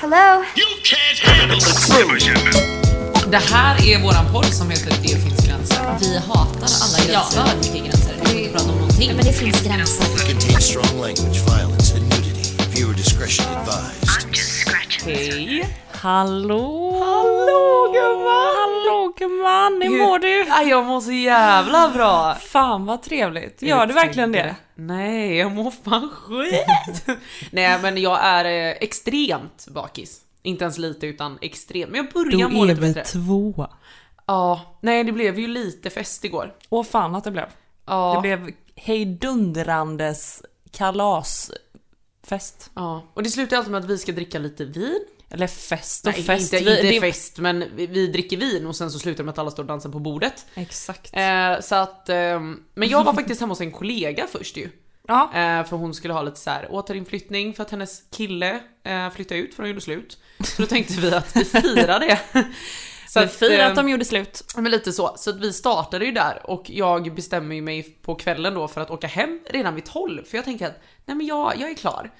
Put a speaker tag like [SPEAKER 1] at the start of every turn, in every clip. [SPEAKER 1] Hello?
[SPEAKER 2] You can't handle the television.
[SPEAKER 3] Det här är våran podd som heter Det finns gränser.
[SPEAKER 4] Vi hatar alla gränser.
[SPEAKER 3] Ja,
[SPEAKER 4] mycket gränser. Vi får inte prata om någonting.
[SPEAKER 5] Men det finns gränser.
[SPEAKER 6] contains strong language, violence, and nudity. Viewer discretion advised.
[SPEAKER 3] Hej!
[SPEAKER 4] Hallå! Hallå gumman! Hallå gumman, hur mår du?
[SPEAKER 3] Ja, jag mår så jävla bra!
[SPEAKER 4] Fan vad trevligt. Gör du verkligen det?
[SPEAKER 3] Nej, jag mår fan skit! Nej, men jag är eh, extremt bakis. Inte ens lite utan extremt. Men jag börjar må lite bättre.
[SPEAKER 4] två.
[SPEAKER 3] Ja, nej det blev ju lite fest igår.
[SPEAKER 4] Åh fan att det blev.
[SPEAKER 3] Ja,
[SPEAKER 4] Det blev hejdundrandes kalasfest.
[SPEAKER 3] ja. och det slutar alltid med att vi ska dricka lite vin.
[SPEAKER 4] Eller fest och
[SPEAKER 3] nej,
[SPEAKER 4] fest.
[SPEAKER 3] inte, inte
[SPEAKER 4] det-
[SPEAKER 3] fest, men vi, vi dricker vin och sen så slutar det med att alla står och dansar på bordet.
[SPEAKER 4] Exakt.
[SPEAKER 3] Eh, så att, ehm, men jag var faktiskt hemma hos en kollega först ju.
[SPEAKER 4] ja.
[SPEAKER 3] Eh, för hon skulle ha lite så här återinflyttning för att hennes kille eh, flyttade ut för hon gjorde slut. Så då tänkte vi att vi firar det. Så
[SPEAKER 4] Så fyra att
[SPEAKER 3] eh,
[SPEAKER 4] de gjorde slut.
[SPEAKER 3] men lite så. Så att vi startade ju där och jag bestämmer ju mig på kvällen då för att åka hem redan vid 12 för jag tänker att nej men jag, jag är klar.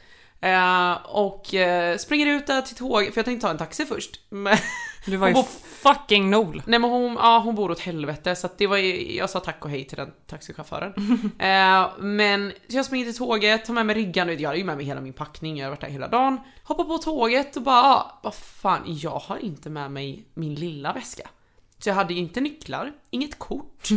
[SPEAKER 3] Eh, och eh, springer ut där till tåg, för jag tänkte ta en taxi först. Men,
[SPEAKER 4] Du var ju
[SPEAKER 3] Hon
[SPEAKER 4] fucking nol.
[SPEAKER 3] nej men hon, ja, hon bor åt helvete så att det var ju, jag sa tack och hej till den taxichauffören. eh, men så jag springer till tåget, tar med mig ryggan, jag har ju med mig hela min packning, jag har varit där hela dagen. Hoppar på tåget och bara, ah, vad fan, jag har inte med mig min lilla väska. Så jag hade ju inte nycklar, inget kort,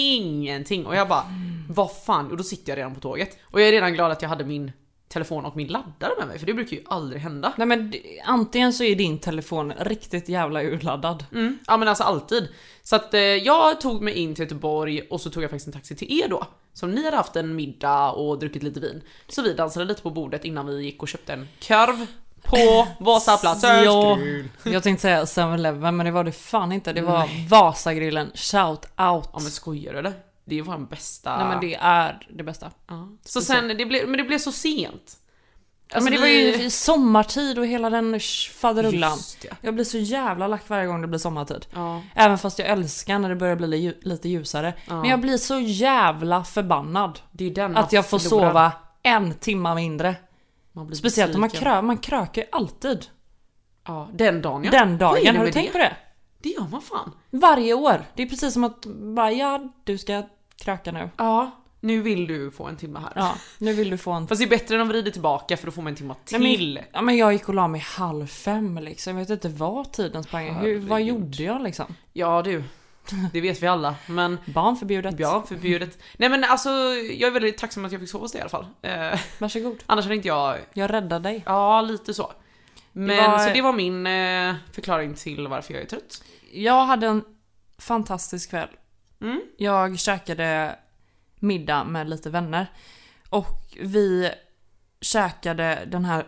[SPEAKER 3] ingenting. Och jag bara, vad fan, och då sitter jag redan på tåget. Och jag är redan glad att jag hade min telefon och min laddare med mig, för det brukar ju aldrig hända.
[SPEAKER 4] Nej men d- antingen så är din telefon riktigt jävla urladdad.
[SPEAKER 3] Mm. Ja men alltså alltid. Så att eh, jag tog mig in till Göteborg och så tog jag faktiskt en taxi till er då. Som ni hade haft en middag och druckit lite vin. Så vi dansade lite på bordet innan vi gick och köpte en korv på Vasaplatsen.
[SPEAKER 4] Ja, jag tänkte säga 7-Eleven men det var det fan inte. Det var Vasagrillen. Shout out.
[SPEAKER 3] Ja men Ah. skojar du eller? Det är ju vår bästa...
[SPEAKER 4] Nej men det är det bästa.
[SPEAKER 3] ja. Så sen, det blev, men det blev så sent.
[SPEAKER 4] Ja, men det var
[SPEAKER 3] Alltså, vi-
[SPEAKER 4] ju sommartid och hela den sh- faderullan.
[SPEAKER 3] Just det.
[SPEAKER 4] Jag blir så jävla lack varje gång det blir sommartid.
[SPEAKER 3] Ja.
[SPEAKER 4] Även fast jag älskar när det börjar bli li- lite ljusare. Men jag blir så jävla förbannad.
[SPEAKER 3] Det är den man
[SPEAKER 4] Att jag får
[SPEAKER 3] förlorar.
[SPEAKER 4] sova en timma mindre.
[SPEAKER 3] Man blir
[SPEAKER 4] Speciellt när man,
[SPEAKER 3] besviken.
[SPEAKER 4] krö man krökar ju alltid.
[SPEAKER 3] Ja, den dagen ja.
[SPEAKER 4] Den
[SPEAKER 3] Vad är
[SPEAKER 4] dagen,
[SPEAKER 3] det
[SPEAKER 4] har du
[SPEAKER 3] med
[SPEAKER 4] tänkt
[SPEAKER 3] det?
[SPEAKER 4] på det?
[SPEAKER 3] Det gör man fan.
[SPEAKER 4] Varje år. Det är precis som att bara, ja, du ska kröka nu.
[SPEAKER 3] Ja. Nu vill du få en timme här.
[SPEAKER 4] Ja, nu vill du få en...
[SPEAKER 3] Fast det är bättre när de vrider tillbaka för då får man en timma till.
[SPEAKER 4] Nej, men, ja, men jag gick och la mig halv fem liksom. Jag vet inte vad tiden sprang. Hur, vad gjorde jag liksom?
[SPEAKER 3] Ja du, det vet vi alla. Men
[SPEAKER 4] Barn förbjudet.
[SPEAKER 3] ja, förbjudet. Nej men alltså, jag är väldigt tacksam att jag fick sova hos dig i alla fall. Eh,
[SPEAKER 4] Varsågod.
[SPEAKER 3] annars hade inte jag,
[SPEAKER 4] Jag räddade dig.
[SPEAKER 3] ja lite så. Men
[SPEAKER 4] Det var-
[SPEAKER 3] så det var min eh, förklaring till varför jag är trött.
[SPEAKER 4] Jag hade en fantastisk kväll.
[SPEAKER 3] Mm.
[SPEAKER 4] Jag käkade middag med lite vänner. Och vi käkade den här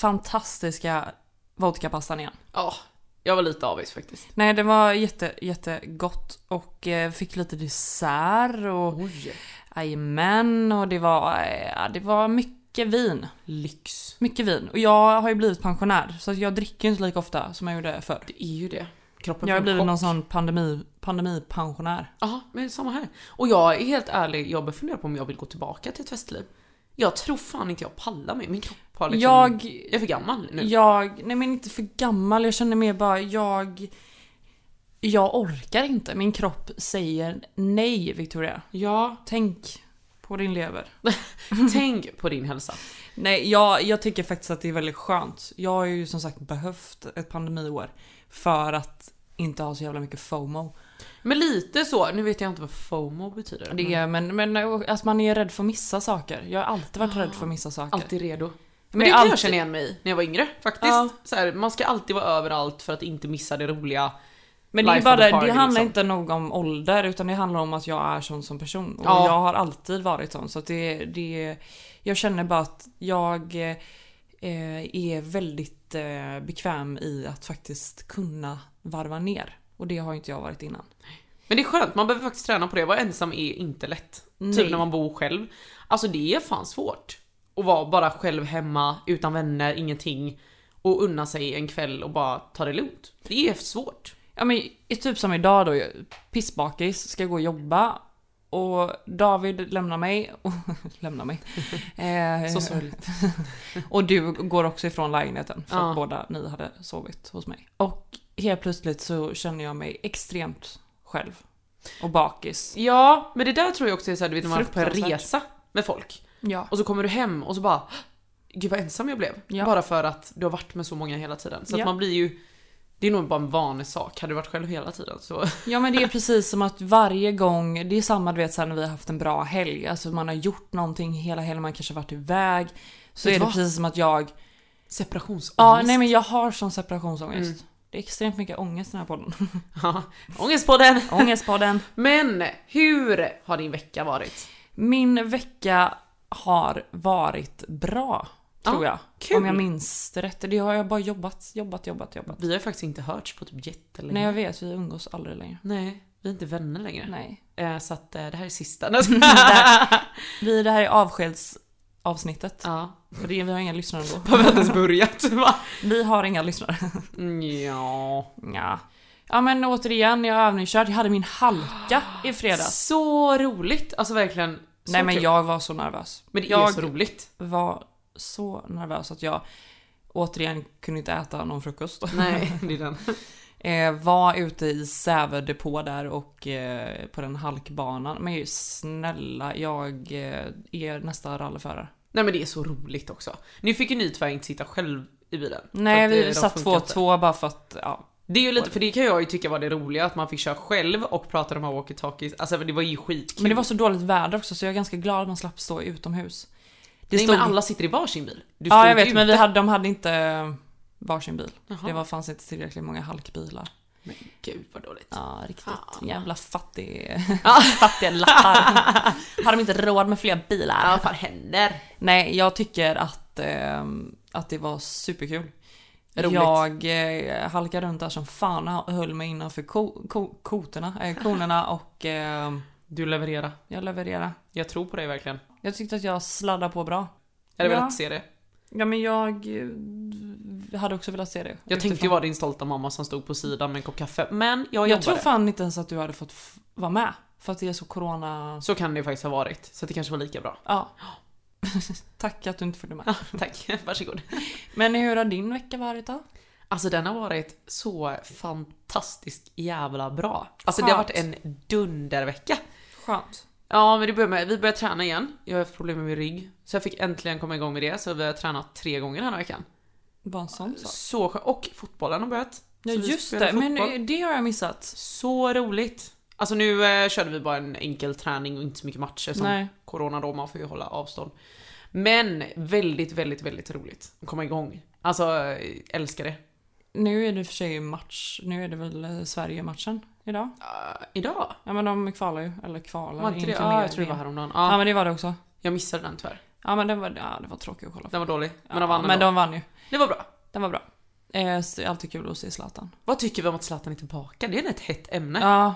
[SPEAKER 4] fantastiska vodkapastan igen.
[SPEAKER 3] Ja, jag var lite avis faktiskt.
[SPEAKER 4] Nej, det var jätte, jättegott och eh, fick lite dessert och
[SPEAKER 3] Oj,
[SPEAKER 4] jajamän och det var, eh, ja, det var mycket vin.
[SPEAKER 3] lyx.
[SPEAKER 4] Mycket vin. Och jag har ju blivit pensionär så att jag dricker ju inte lika ofta som jag gjorde förr.
[SPEAKER 3] Det är ju det. Kroppen
[SPEAKER 4] Jag har
[SPEAKER 3] får
[SPEAKER 4] blivit
[SPEAKER 3] chock.
[SPEAKER 4] någon sån pandemi, pandemipensionär.
[SPEAKER 3] Ja, men samma här. Och jag är helt ärlig, jag börjar fundera på om jag vill gå tillbaka till ett festliv. Jag tror fan inte jag pallar mig, min kropp har liksom...
[SPEAKER 4] Jag,
[SPEAKER 3] Jag är för gammal nu.
[SPEAKER 4] jag, nej men inte för gammal, jag känner mer bara jag... Jag orkar inte, min kropp säger nej Victoria.
[SPEAKER 3] Ja,
[SPEAKER 4] Tänk på din lever. Mhm.
[SPEAKER 3] tänk på din hälsa.
[SPEAKER 4] Nej, jag, jag tycker faktiskt att det är väldigt skönt. Jag har ju som sagt behövt ett pandemiår för att inte ha så jävla mycket FOMO.
[SPEAKER 3] Men lite så, nu vet jag inte vad FOMO betyder. Mm.
[SPEAKER 4] Det, är- men, Mm. men att man är rädd för att missa saker. Jag har alltid varit rädd för att missa saker.
[SPEAKER 3] Alltid redo. Men,
[SPEAKER 4] Men
[SPEAKER 3] det kan
[SPEAKER 4] alltid-
[SPEAKER 3] jag känna igen mig i när jag var yngre faktiskt.
[SPEAKER 4] Ja.
[SPEAKER 3] Så här, man ska alltid vara överallt för att inte missa det roliga.
[SPEAKER 4] Men det, är
[SPEAKER 3] Life
[SPEAKER 4] bara,
[SPEAKER 3] of the
[SPEAKER 4] det,
[SPEAKER 3] party,
[SPEAKER 4] det handlar
[SPEAKER 3] liksom.
[SPEAKER 4] inte nog om ålder utan det handlar om att jag är sån som person. Och
[SPEAKER 3] Ja.
[SPEAKER 4] jag har alltid varit sån. Så att det, det, jag känner bara att jag eh, eh, är väldigt eh, bekväm i att faktiskt kunna varva ner. Och det har ju inte jag varit innan.
[SPEAKER 3] Men det är skönt, man behöver faktiskt träna på det. Att vara ensam är inte lätt.
[SPEAKER 4] Nej.
[SPEAKER 3] Typ när man bor själv. Alltså det är fan svårt. Att vara bara själv hemma, utan vänner, ingenting. Och unna sig en kväll och bara ta det lugnt. Det är svårt.
[SPEAKER 4] Ja men i- typ som idag då, jag- pissbakis, ska gå och jobba. Och David lämnar mig. Och, lämnar mig. Eh,
[SPEAKER 3] Så sorgligt.
[SPEAKER 4] och du går också ifrån lägenheten för
[SPEAKER 3] Ja.
[SPEAKER 4] att båda ni hade sovit hos mig. Och helt plötsligt så känner jag mig extremt själv. Och bakis.
[SPEAKER 3] Ja, men det där tror jag också är såhär, du vet när man har varit på en
[SPEAKER 4] Fruktansvärt.
[SPEAKER 3] resa med folk.
[SPEAKER 4] Ja.
[SPEAKER 3] Och så kommer du hem och så bara Gud vad ensam jag blev.
[SPEAKER 4] Ja.
[SPEAKER 3] Bara för att du har varit med så många hela tiden. Så
[SPEAKER 4] Ja.
[SPEAKER 3] att man blir ju Det är nog bara en vanlig sak. Hade du varit själv hela tiden så
[SPEAKER 4] Ja men det är precis som att varje gång, det är samma du vet så här när vi har haft en bra helg, alltså man har gjort någonting hela helgen, man kanske har varit iväg.
[SPEAKER 3] Vet
[SPEAKER 4] Så är
[SPEAKER 3] du
[SPEAKER 4] det
[SPEAKER 3] vad?
[SPEAKER 4] precis som att jag,
[SPEAKER 3] separationsångest.
[SPEAKER 4] ja nej men jag har sån separationsångest. Mm. Det är extremt mycket ångest i den här podden.
[SPEAKER 3] Ja, Ångestpodden!
[SPEAKER 4] Ångestpodden.
[SPEAKER 3] Men hur har din vecka varit?
[SPEAKER 4] Min vecka har varit bra, tror
[SPEAKER 3] Ja,
[SPEAKER 4] jag.
[SPEAKER 3] kul.
[SPEAKER 4] Om jag minns det rätt. Det har jag bara jobbat, jobbat, jobbat, jobbat.
[SPEAKER 3] Vi har ju faktiskt inte hörts på typ jättelänge.
[SPEAKER 4] Nej jag vet, vi umgås aldrig längre.
[SPEAKER 3] Nej, vi är inte vänner längre.
[SPEAKER 4] Nej.
[SPEAKER 3] Eh, så att eh, det här är sista.
[SPEAKER 4] Vi, det här är avskedsavsnittet.
[SPEAKER 3] ja.
[SPEAKER 4] För det, vi har inga lyssnare ändå.
[SPEAKER 3] Har vi inte ens börjat? Va?
[SPEAKER 4] Vi har inga lyssnare.
[SPEAKER 3] Ja.
[SPEAKER 4] Ja. Ja men återigen, jag övningskörde. Jag hade min halka i fredags.
[SPEAKER 3] Så roligt! Alltså verkligen. Så
[SPEAKER 4] Nej men
[SPEAKER 3] kul.
[SPEAKER 4] jag var så nervös.
[SPEAKER 3] Men det är
[SPEAKER 4] jag
[SPEAKER 3] så roligt.
[SPEAKER 4] var så nervös att jag återigen kunde inte äta någon frukost.
[SPEAKER 3] Nej, det är den.
[SPEAKER 4] eh, var ute i Säve depå där och eh, på den halkbanan. Men ju snälla, jag eh, är nästa rallyförare.
[SPEAKER 3] Nej men det är så roligt också. Nu fick ju ni tyvärr inte sitta själv i bilen. För
[SPEAKER 4] Nej
[SPEAKER 3] att, eh,
[SPEAKER 4] vi
[SPEAKER 3] de
[SPEAKER 4] satt
[SPEAKER 3] funkar
[SPEAKER 4] två och
[SPEAKER 3] inte.
[SPEAKER 4] två bara för att, ja.
[SPEAKER 3] Det är ju lite, för det kan jag ju tycka var det roliga, att man fick köra själv och prata om de här walkie-talkies. Alltså det var ju skitkul.
[SPEAKER 4] Men det var så dåligt väder också så jag är ganska glad att man slapp stå utomhus. Det
[SPEAKER 3] Nej men alla sitter i varsin bil. Du
[SPEAKER 4] Ja,
[SPEAKER 3] stod
[SPEAKER 4] jag vet,
[SPEAKER 3] ju-
[SPEAKER 4] men vi hade, de hade inte eh, varsin bil.
[SPEAKER 3] Jaha.
[SPEAKER 4] Det var, fanns inte tillräckligt många halkbilar.
[SPEAKER 3] Men gud vad dåligt.
[SPEAKER 4] Ja, riktigt
[SPEAKER 3] Fan.
[SPEAKER 4] jävla fattig, fattiga lappar. Har de inte råd med fler bilar?
[SPEAKER 3] Ja, vad fan händer?
[SPEAKER 4] Nej, jag tycker att, ehm, att det var superkul.
[SPEAKER 3] Roligt.
[SPEAKER 4] Jag eh, halkade runt där som fan och höll mig innanför ko, ko, koterna, eh, konerna och ehm,
[SPEAKER 3] Du levererar.
[SPEAKER 4] jag levererade.
[SPEAKER 3] Jag tror på dig verkligen.
[SPEAKER 4] Jag tyckte att jag sladdade på bra.
[SPEAKER 3] Jag hade
[SPEAKER 4] Ja.
[SPEAKER 3] velat se det.
[SPEAKER 4] Ja, men jag eh, hade också velat se det.
[SPEAKER 3] Jag tänkte
[SPEAKER 4] utifrån.
[SPEAKER 3] ju vara din stolta mamma som stod på sidan med en kopp kaffe. Men jag
[SPEAKER 4] Jag,
[SPEAKER 3] jobbade.
[SPEAKER 4] tror fan inte ens att du hade fått f- vara med. För att det är så corona...
[SPEAKER 3] Så kan det ju faktiskt ha varit. Så det kanske var lika bra.
[SPEAKER 4] Ja. Tack att du inte följde med.
[SPEAKER 3] Tack, varsågod.
[SPEAKER 4] Men hur har din vecka varit då?
[SPEAKER 3] Alltså den har varit så fantastiskt jävla bra. Alltså det har varit en
[SPEAKER 4] Skönt.
[SPEAKER 3] dundervecka.
[SPEAKER 4] Skönt.
[SPEAKER 3] Ja, men det börjar med, vi börjar träna igen. Jag har haft problem med min rygg. Så jag fick äntligen komma igång med det. Så vi har tränat tre gånger den här veckan.
[SPEAKER 4] Bara en sån sak.
[SPEAKER 3] Så skö- Och fotbollen har börjat.
[SPEAKER 4] Ja
[SPEAKER 3] Så vi
[SPEAKER 4] just
[SPEAKER 3] spelar
[SPEAKER 4] det, men
[SPEAKER 3] fotboll.
[SPEAKER 4] eh, det har jag missat.
[SPEAKER 3] Så roligt! Alltså nu eh, körde vi bara en enkel träning och inte så mycket matcher som
[SPEAKER 4] Nej.
[SPEAKER 3] corona då, man får ju hålla avstånd. Men väldigt, väldigt, väldigt roligt att komma igång. Alltså, eh, älskar det.
[SPEAKER 4] Nu är det för sig match, nu är det väl eh, Sverige-matchen idag?
[SPEAKER 3] Eh, idag?
[SPEAKER 4] Ja men de kvalar ju, eller kvalar.
[SPEAKER 3] Var inte det?
[SPEAKER 4] egentligen
[SPEAKER 3] Ja,
[SPEAKER 4] mer
[SPEAKER 3] jag tror det var
[SPEAKER 4] VM.
[SPEAKER 3] häromdagen.
[SPEAKER 4] Ja
[SPEAKER 3] Ja,
[SPEAKER 4] men det var det också.
[SPEAKER 3] jag missade den tyvärr.
[SPEAKER 4] Ja men det var, ja, det var tråkigt att kolla på.
[SPEAKER 3] Den var dålig. Men de vann
[SPEAKER 4] ja, men
[SPEAKER 3] ändå.
[SPEAKER 4] de vann ju.
[SPEAKER 3] Det var bra.
[SPEAKER 4] Den var bra. Eh, så det är alltid kul att se Zlatan.
[SPEAKER 3] Vad tycker vi om att Zlatan är tillbaka? Det är ett hett ämne.
[SPEAKER 4] Ja.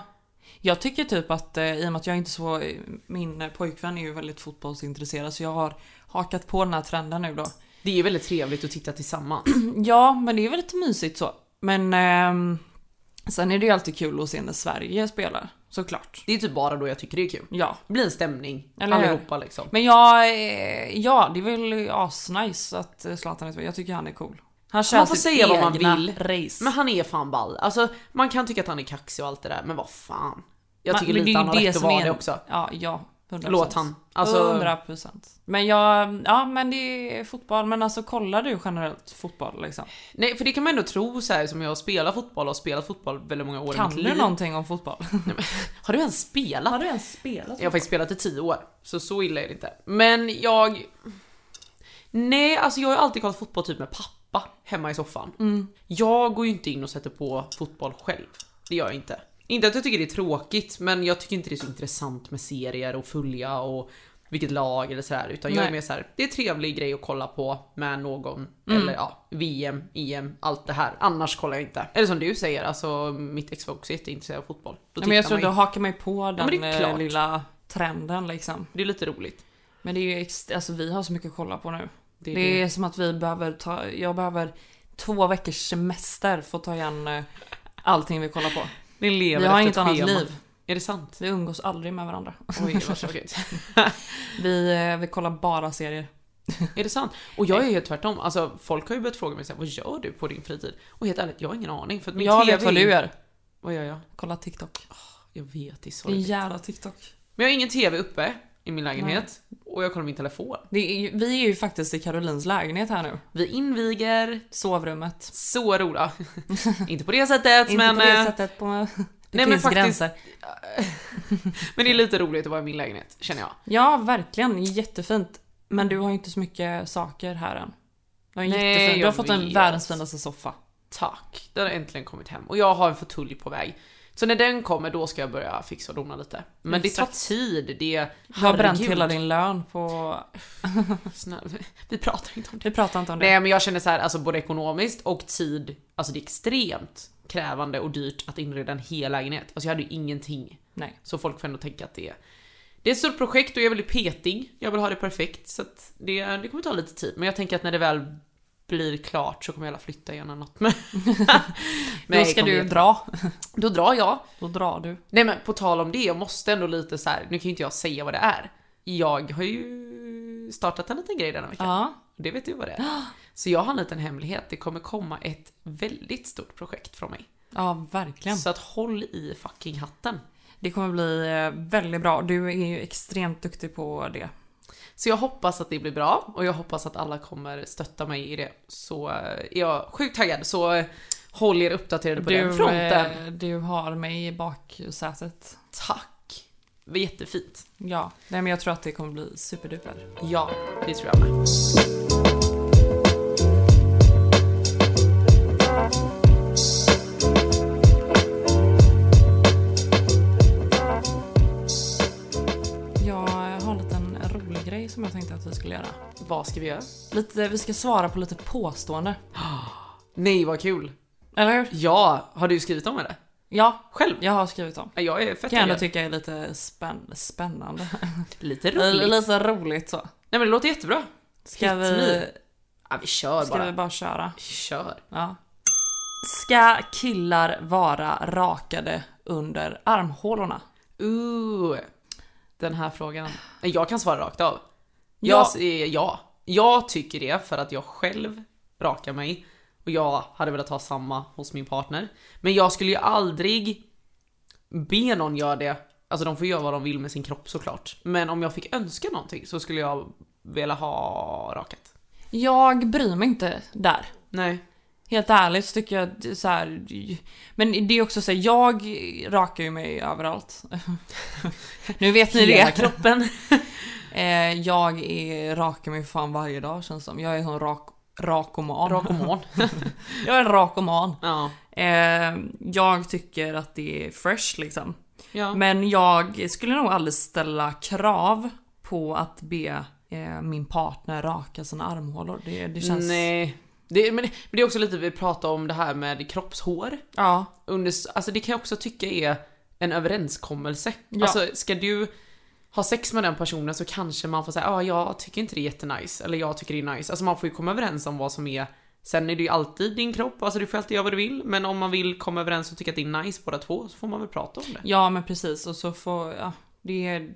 [SPEAKER 4] Jag tycker typ att eh, i och med att jag inte så, min pojkvän är ju väldigt fotbollsintresserad så jag har hakat på den här trenden nu då.
[SPEAKER 3] Det är ju väldigt trevligt att titta tillsammans.
[SPEAKER 4] Ja, men det är väl lite mysigt så. Men ehm, sen är det ju alltid kul att se när Sverige spelar, såklart.
[SPEAKER 3] Det är typ bara då jag tycker det är kul.
[SPEAKER 4] Ja.
[SPEAKER 3] Det blir en stämning.
[SPEAKER 4] Eller hur?
[SPEAKER 3] allihopa liksom.
[SPEAKER 4] Men jag, eh, ja det är väl asnice att eh, Zlatan är tillbaka. Jag tycker han är cool. Han kör
[SPEAKER 3] Man får
[SPEAKER 4] sitt
[SPEAKER 3] säga vad man
[SPEAKER 4] egna
[SPEAKER 3] vill.
[SPEAKER 4] Race.
[SPEAKER 3] Men han är fan ball. Alltså man kan tycka att han är kaxig och allt det där, men vad fan. Jag
[SPEAKER 4] Man-
[SPEAKER 3] tycker
[SPEAKER 4] men det är
[SPEAKER 3] lite
[SPEAKER 4] ju
[SPEAKER 3] han har rätt att
[SPEAKER 4] som
[SPEAKER 3] vara
[SPEAKER 4] är-
[SPEAKER 3] det också.
[SPEAKER 4] Ja, ja. 100%.
[SPEAKER 3] Låt han. Alltså,
[SPEAKER 4] 100%. Men jag, ja men det är fotboll. Men alltså kollar du generellt fotboll liksom?
[SPEAKER 3] nej för det kan man ändå tro så här som jag spelar fotboll och har spelat fotboll väldigt många år i
[SPEAKER 4] Kan
[SPEAKER 3] mitt
[SPEAKER 4] du
[SPEAKER 3] liv.
[SPEAKER 4] någonting om fotboll?
[SPEAKER 3] Har du ens spelat?
[SPEAKER 4] du ens spelat?
[SPEAKER 3] Jag har faktiskt spelat i tio år, så så illa är det inte. Men jag... Nej, alltså jag har ju alltid kollat fotboll typ med pappa hemma i soffan.
[SPEAKER 4] Mm.
[SPEAKER 3] Jag går ju inte in och sätter på fotboll själv. Det gör jag inte. Inte att jag tycker det är tråkigt, men jag tycker inte det är så intressant med serier och följa och vilket lag eller sådär. Utan jag är
[SPEAKER 4] Nej.
[SPEAKER 3] mer såhär, det är en trevlig grej att kolla på med någon.
[SPEAKER 4] Mm.
[SPEAKER 3] Eller ja, VM, EM, allt det här. Annars kollar jag inte. Eller som du säger, alltså mitt ex var också jätteintresserad av fotboll. Då
[SPEAKER 4] men jag
[SPEAKER 3] tittar
[SPEAKER 4] tror
[SPEAKER 3] man
[SPEAKER 4] du
[SPEAKER 3] ju.
[SPEAKER 4] hakar mig på
[SPEAKER 3] men
[SPEAKER 4] den
[SPEAKER 3] det är
[SPEAKER 4] eh,
[SPEAKER 3] klart.
[SPEAKER 4] lilla trenden liksom.
[SPEAKER 3] Det är lite roligt.
[SPEAKER 4] Men det är ju ex- alltså vi har så mycket att kolla på nu. Det är,
[SPEAKER 3] är det.
[SPEAKER 4] som att vi behöver ta, jag behöver två veckors semester för att ta igen eh, allting vi kollar på.
[SPEAKER 3] Ni lever
[SPEAKER 4] Vi har
[SPEAKER 3] efter
[SPEAKER 4] inget
[SPEAKER 3] ett
[SPEAKER 4] annat
[SPEAKER 3] schema.
[SPEAKER 4] liv.
[SPEAKER 3] Är det sant?
[SPEAKER 4] Vi umgås aldrig med varandra.
[SPEAKER 3] Oj, vad tråkigt.
[SPEAKER 4] Vi, eh, vi kollar bara serier.
[SPEAKER 3] är det sant? Och jag är ju helt tvärtom. Alltså, folk har ju börjat fråga mig så här, vad gör du på din fritid? Och helt ärligt, jag har ingen aning. För att min
[SPEAKER 4] jag
[SPEAKER 3] TV
[SPEAKER 4] vet vad du gör.
[SPEAKER 3] Vad gör jag?
[SPEAKER 4] Kolla TikTok.
[SPEAKER 3] Jag vet, det är
[SPEAKER 4] Din
[SPEAKER 3] sorgligt.
[SPEAKER 4] jävla TikTok.
[SPEAKER 3] Men jag har ingen TV uppe i min lägenhet. Och jag kollar min telefon.
[SPEAKER 4] Det är, ju- vi är ju faktiskt i Carolins lägenhet här nu.
[SPEAKER 3] Vi inviger.
[SPEAKER 4] Sovrummet.
[SPEAKER 3] Så roliga. Inte på det sättet,
[SPEAKER 4] Inte
[SPEAKER 3] men...
[SPEAKER 4] på det
[SPEAKER 3] eh,
[SPEAKER 4] sättet. På, det
[SPEAKER 3] men
[SPEAKER 4] finns
[SPEAKER 3] faktiskt-
[SPEAKER 4] gränser.
[SPEAKER 3] Men det är lite roligt att vara i min lägenhet, känner jag.
[SPEAKER 4] Ja, verkligen. Jättefint. Men du har ju inte så mycket saker här än. Du har, en
[SPEAKER 3] Nej,
[SPEAKER 4] jättefin, du har
[SPEAKER 3] jag
[SPEAKER 4] fått en
[SPEAKER 3] vet.
[SPEAKER 4] världens finaste soffa.
[SPEAKER 3] Tack, den har äntligen kommit hem. Och jag har en fåtölj på väg. Så när den kommer, då ska jag börja fixa och dona lite. Men det tar
[SPEAKER 4] Exakt.
[SPEAKER 3] tid, det...
[SPEAKER 4] Du har bränt
[SPEAKER 3] Herregud.
[SPEAKER 4] hela din lön på...
[SPEAKER 3] Snälla, Vi pratar inte om det.
[SPEAKER 4] Vi pratar inte om det.
[SPEAKER 3] Nej men jag känner så här, alltså både ekonomiskt och tid, alltså det är extremt krävande och dyrt att inreda en hel lägenhet. Alltså jag hade ju ingenting.
[SPEAKER 4] Nej.
[SPEAKER 3] Så folk får ändå tänka att det är... Det är ett stort projekt och jag är väldigt petig. Jag vill ha det perfekt så att det, det kommer ta lite tid. Men jag tänker att när det väl blir klart så kommer jag alla flytta igen eller något. Men
[SPEAKER 4] Då
[SPEAKER 3] Nej,
[SPEAKER 4] ska
[SPEAKER 3] kom
[SPEAKER 4] du
[SPEAKER 3] igen.
[SPEAKER 4] dra.
[SPEAKER 3] Då drar jag.
[SPEAKER 4] Då drar du.
[SPEAKER 3] Nej men på tal om det, jag måste ändå lite så här. nu kan ju inte jag säga vad det är. Jag har ju startat en liten grej denna vecka.
[SPEAKER 4] Ja.
[SPEAKER 3] Det vet du vad det är. Så jag har en liten hemlighet. Det kommer komma ett väldigt stort projekt från mig.
[SPEAKER 4] Ja, verkligen.
[SPEAKER 3] Så att håll i fucking hatten.
[SPEAKER 4] Det kommer bli eh, väldigt bra. Du är ju extremt duktig på det.
[SPEAKER 3] Så jag hoppas att det blir bra och jag hoppas att alla kommer stötta mig i det. Så eh, är jag sjukt taggad. Så eh, håll er uppdaterade på den fronten.
[SPEAKER 4] eh, du har mig i baksätet.
[SPEAKER 3] Tack. Det var Jättefint.
[SPEAKER 4] Ja, nej men jag tror att det kommer bli superduper.
[SPEAKER 3] Ja, det tror jag med.
[SPEAKER 4] Jag har en liten rolig grej som jag tänkte att vi skulle göra.
[SPEAKER 3] Vad ska vi göra?
[SPEAKER 4] Lite, vi ska svara på lite påstående.
[SPEAKER 3] Nej, vad kul.
[SPEAKER 4] Eller hur?
[SPEAKER 3] Ja, har du skrivit om det?
[SPEAKER 4] Ja,
[SPEAKER 3] Själv?
[SPEAKER 4] jag har skrivit om.
[SPEAKER 3] Jag är fett
[SPEAKER 4] Kan jag ändå
[SPEAKER 3] taggad.
[SPEAKER 4] tycka är lite spänn- spännande.
[SPEAKER 3] Lite roligt.
[SPEAKER 4] lite roligt så.
[SPEAKER 3] Nej men det låter jättebra.
[SPEAKER 4] Ska
[SPEAKER 3] Hit
[SPEAKER 4] vi,
[SPEAKER 3] me. Ja, vi kör
[SPEAKER 4] ska
[SPEAKER 3] bara.
[SPEAKER 4] vi bara köra?
[SPEAKER 3] Kör.
[SPEAKER 4] Ja. Ska killar vara rakade under armhålorna?
[SPEAKER 3] Ooh. Den här frågan. Jag kan svara rakt av.
[SPEAKER 4] Ja.
[SPEAKER 3] Jag säger ja. Jag tycker det för att jag själv rakar mig och jag hade velat ha samma hos min partner. Men jag skulle ju aldrig be någon göra det. Alltså de får göra vad de vill med sin kropp såklart. Men om jag fick önska någonting så skulle jag vilja ha rakat.
[SPEAKER 4] Jag bryr mig inte där.
[SPEAKER 3] Nej.
[SPEAKER 4] Helt ärligt så tycker jag att det är så här. Men det är också så här, jag rakar ju mig överallt. nu vet ni
[SPEAKER 3] Hela
[SPEAKER 4] det.
[SPEAKER 3] kroppen.
[SPEAKER 4] Eh, jag är, rakar mig fan varje dag känns det som. Jag är en sån rak, rakoman.
[SPEAKER 3] Rakoman.
[SPEAKER 4] Jag är en rakoman.
[SPEAKER 3] ja.
[SPEAKER 4] Eh, jag tycker att det är fresh liksom.
[SPEAKER 3] ja.
[SPEAKER 4] Men jag skulle nog aldrig ställa krav på att be eh, min partner raka sina armhålor. Det, det känns...
[SPEAKER 3] Nej. Det, men, det- men det är också lite vi pratar om det här med kroppshår.
[SPEAKER 4] Ja,
[SPEAKER 3] Under, alltså det kan jag också tycka är en överenskommelse.
[SPEAKER 4] Ja.
[SPEAKER 3] Alltså ska du ha sex med den personen så kanske man får säga ah, jag tycker inte det är jättenice eller jag tycker det är nice. Alltså man får ju komma överens om vad som är Sen är det ju alltid din kropp, alltså du får alltid göra vad du vill. Men om man vill komma överens och tycka att det är nice båda två så får man väl prata om det.
[SPEAKER 4] ja men precis. Och så får... Ja, det är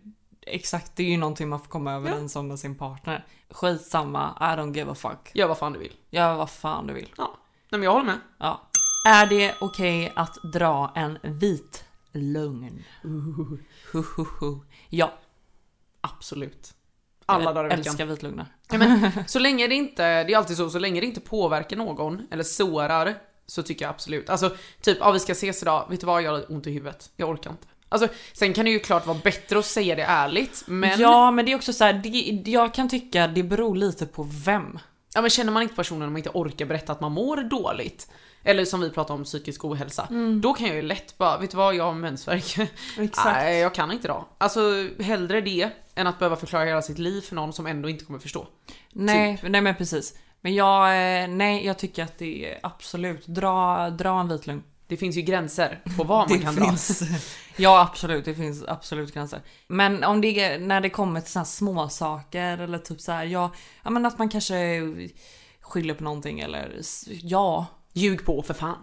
[SPEAKER 4] exakt, det är ju någonting man får komma överens om med sin partner. Skitsamma, I don't give a fuck.
[SPEAKER 3] Gör vad fan du vill.
[SPEAKER 4] Gör vad fan du vill.
[SPEAKER 3] Ja. Nej men jag håller med.
[SPEAKER 4] Ja. Är det okej att dra en vit lögn? Hu, hu, hu. Ja,
[SPEAKER 3] Absolut. Alla dagar i veckan.
[SPEAKER 4] älskar vitlugnar.
[SPEAKER 3] Ja, men, så länge det inte, det är alltid så, så länge det inte påverkar någon eller sårar så tycker jag absolut. Alltså typ, ja vi ska ses idag, vet du vad jag har ont i huvudet, jag orkar inte. Alltså sen kan det ju klart vara bättre att säga det ärligt men, ja.
[SPEAKER 4] Ja, men det är också så här, det, jag kan tycka det beror lite på vem.
[SPEAKER 3] men känner man inte personen och man inte orkar berätta att man mår dåligt eller som vi pratade om psykisk ohälsa, då kan jag ju lätt bara, vet du vad jag har mensvärk.
[SPEAKER 4] Exakt.
[SPEAKER 3] Nej jag kan inte idag. Alltså hellre det än att behöva förklara hela sitt liv för någon som ändå inte kommer förstå.
[SPEAKER 4] Nej, nej men precis. Men jag, eh, nej, jag tycker att det är absolut, dra, dra en vit lögn.
[SPEAKER 3] Det finns ju gränser på vad man kan dra.
[SPEAKER 4] ja absolut, det finns absolut gränser. Men om det är när det kommer till såna här små saker eller typ så här, ja, ja men att man kanske skyller på någonting eller s- ja,
[SPEAKER 3] Ljug på för fan.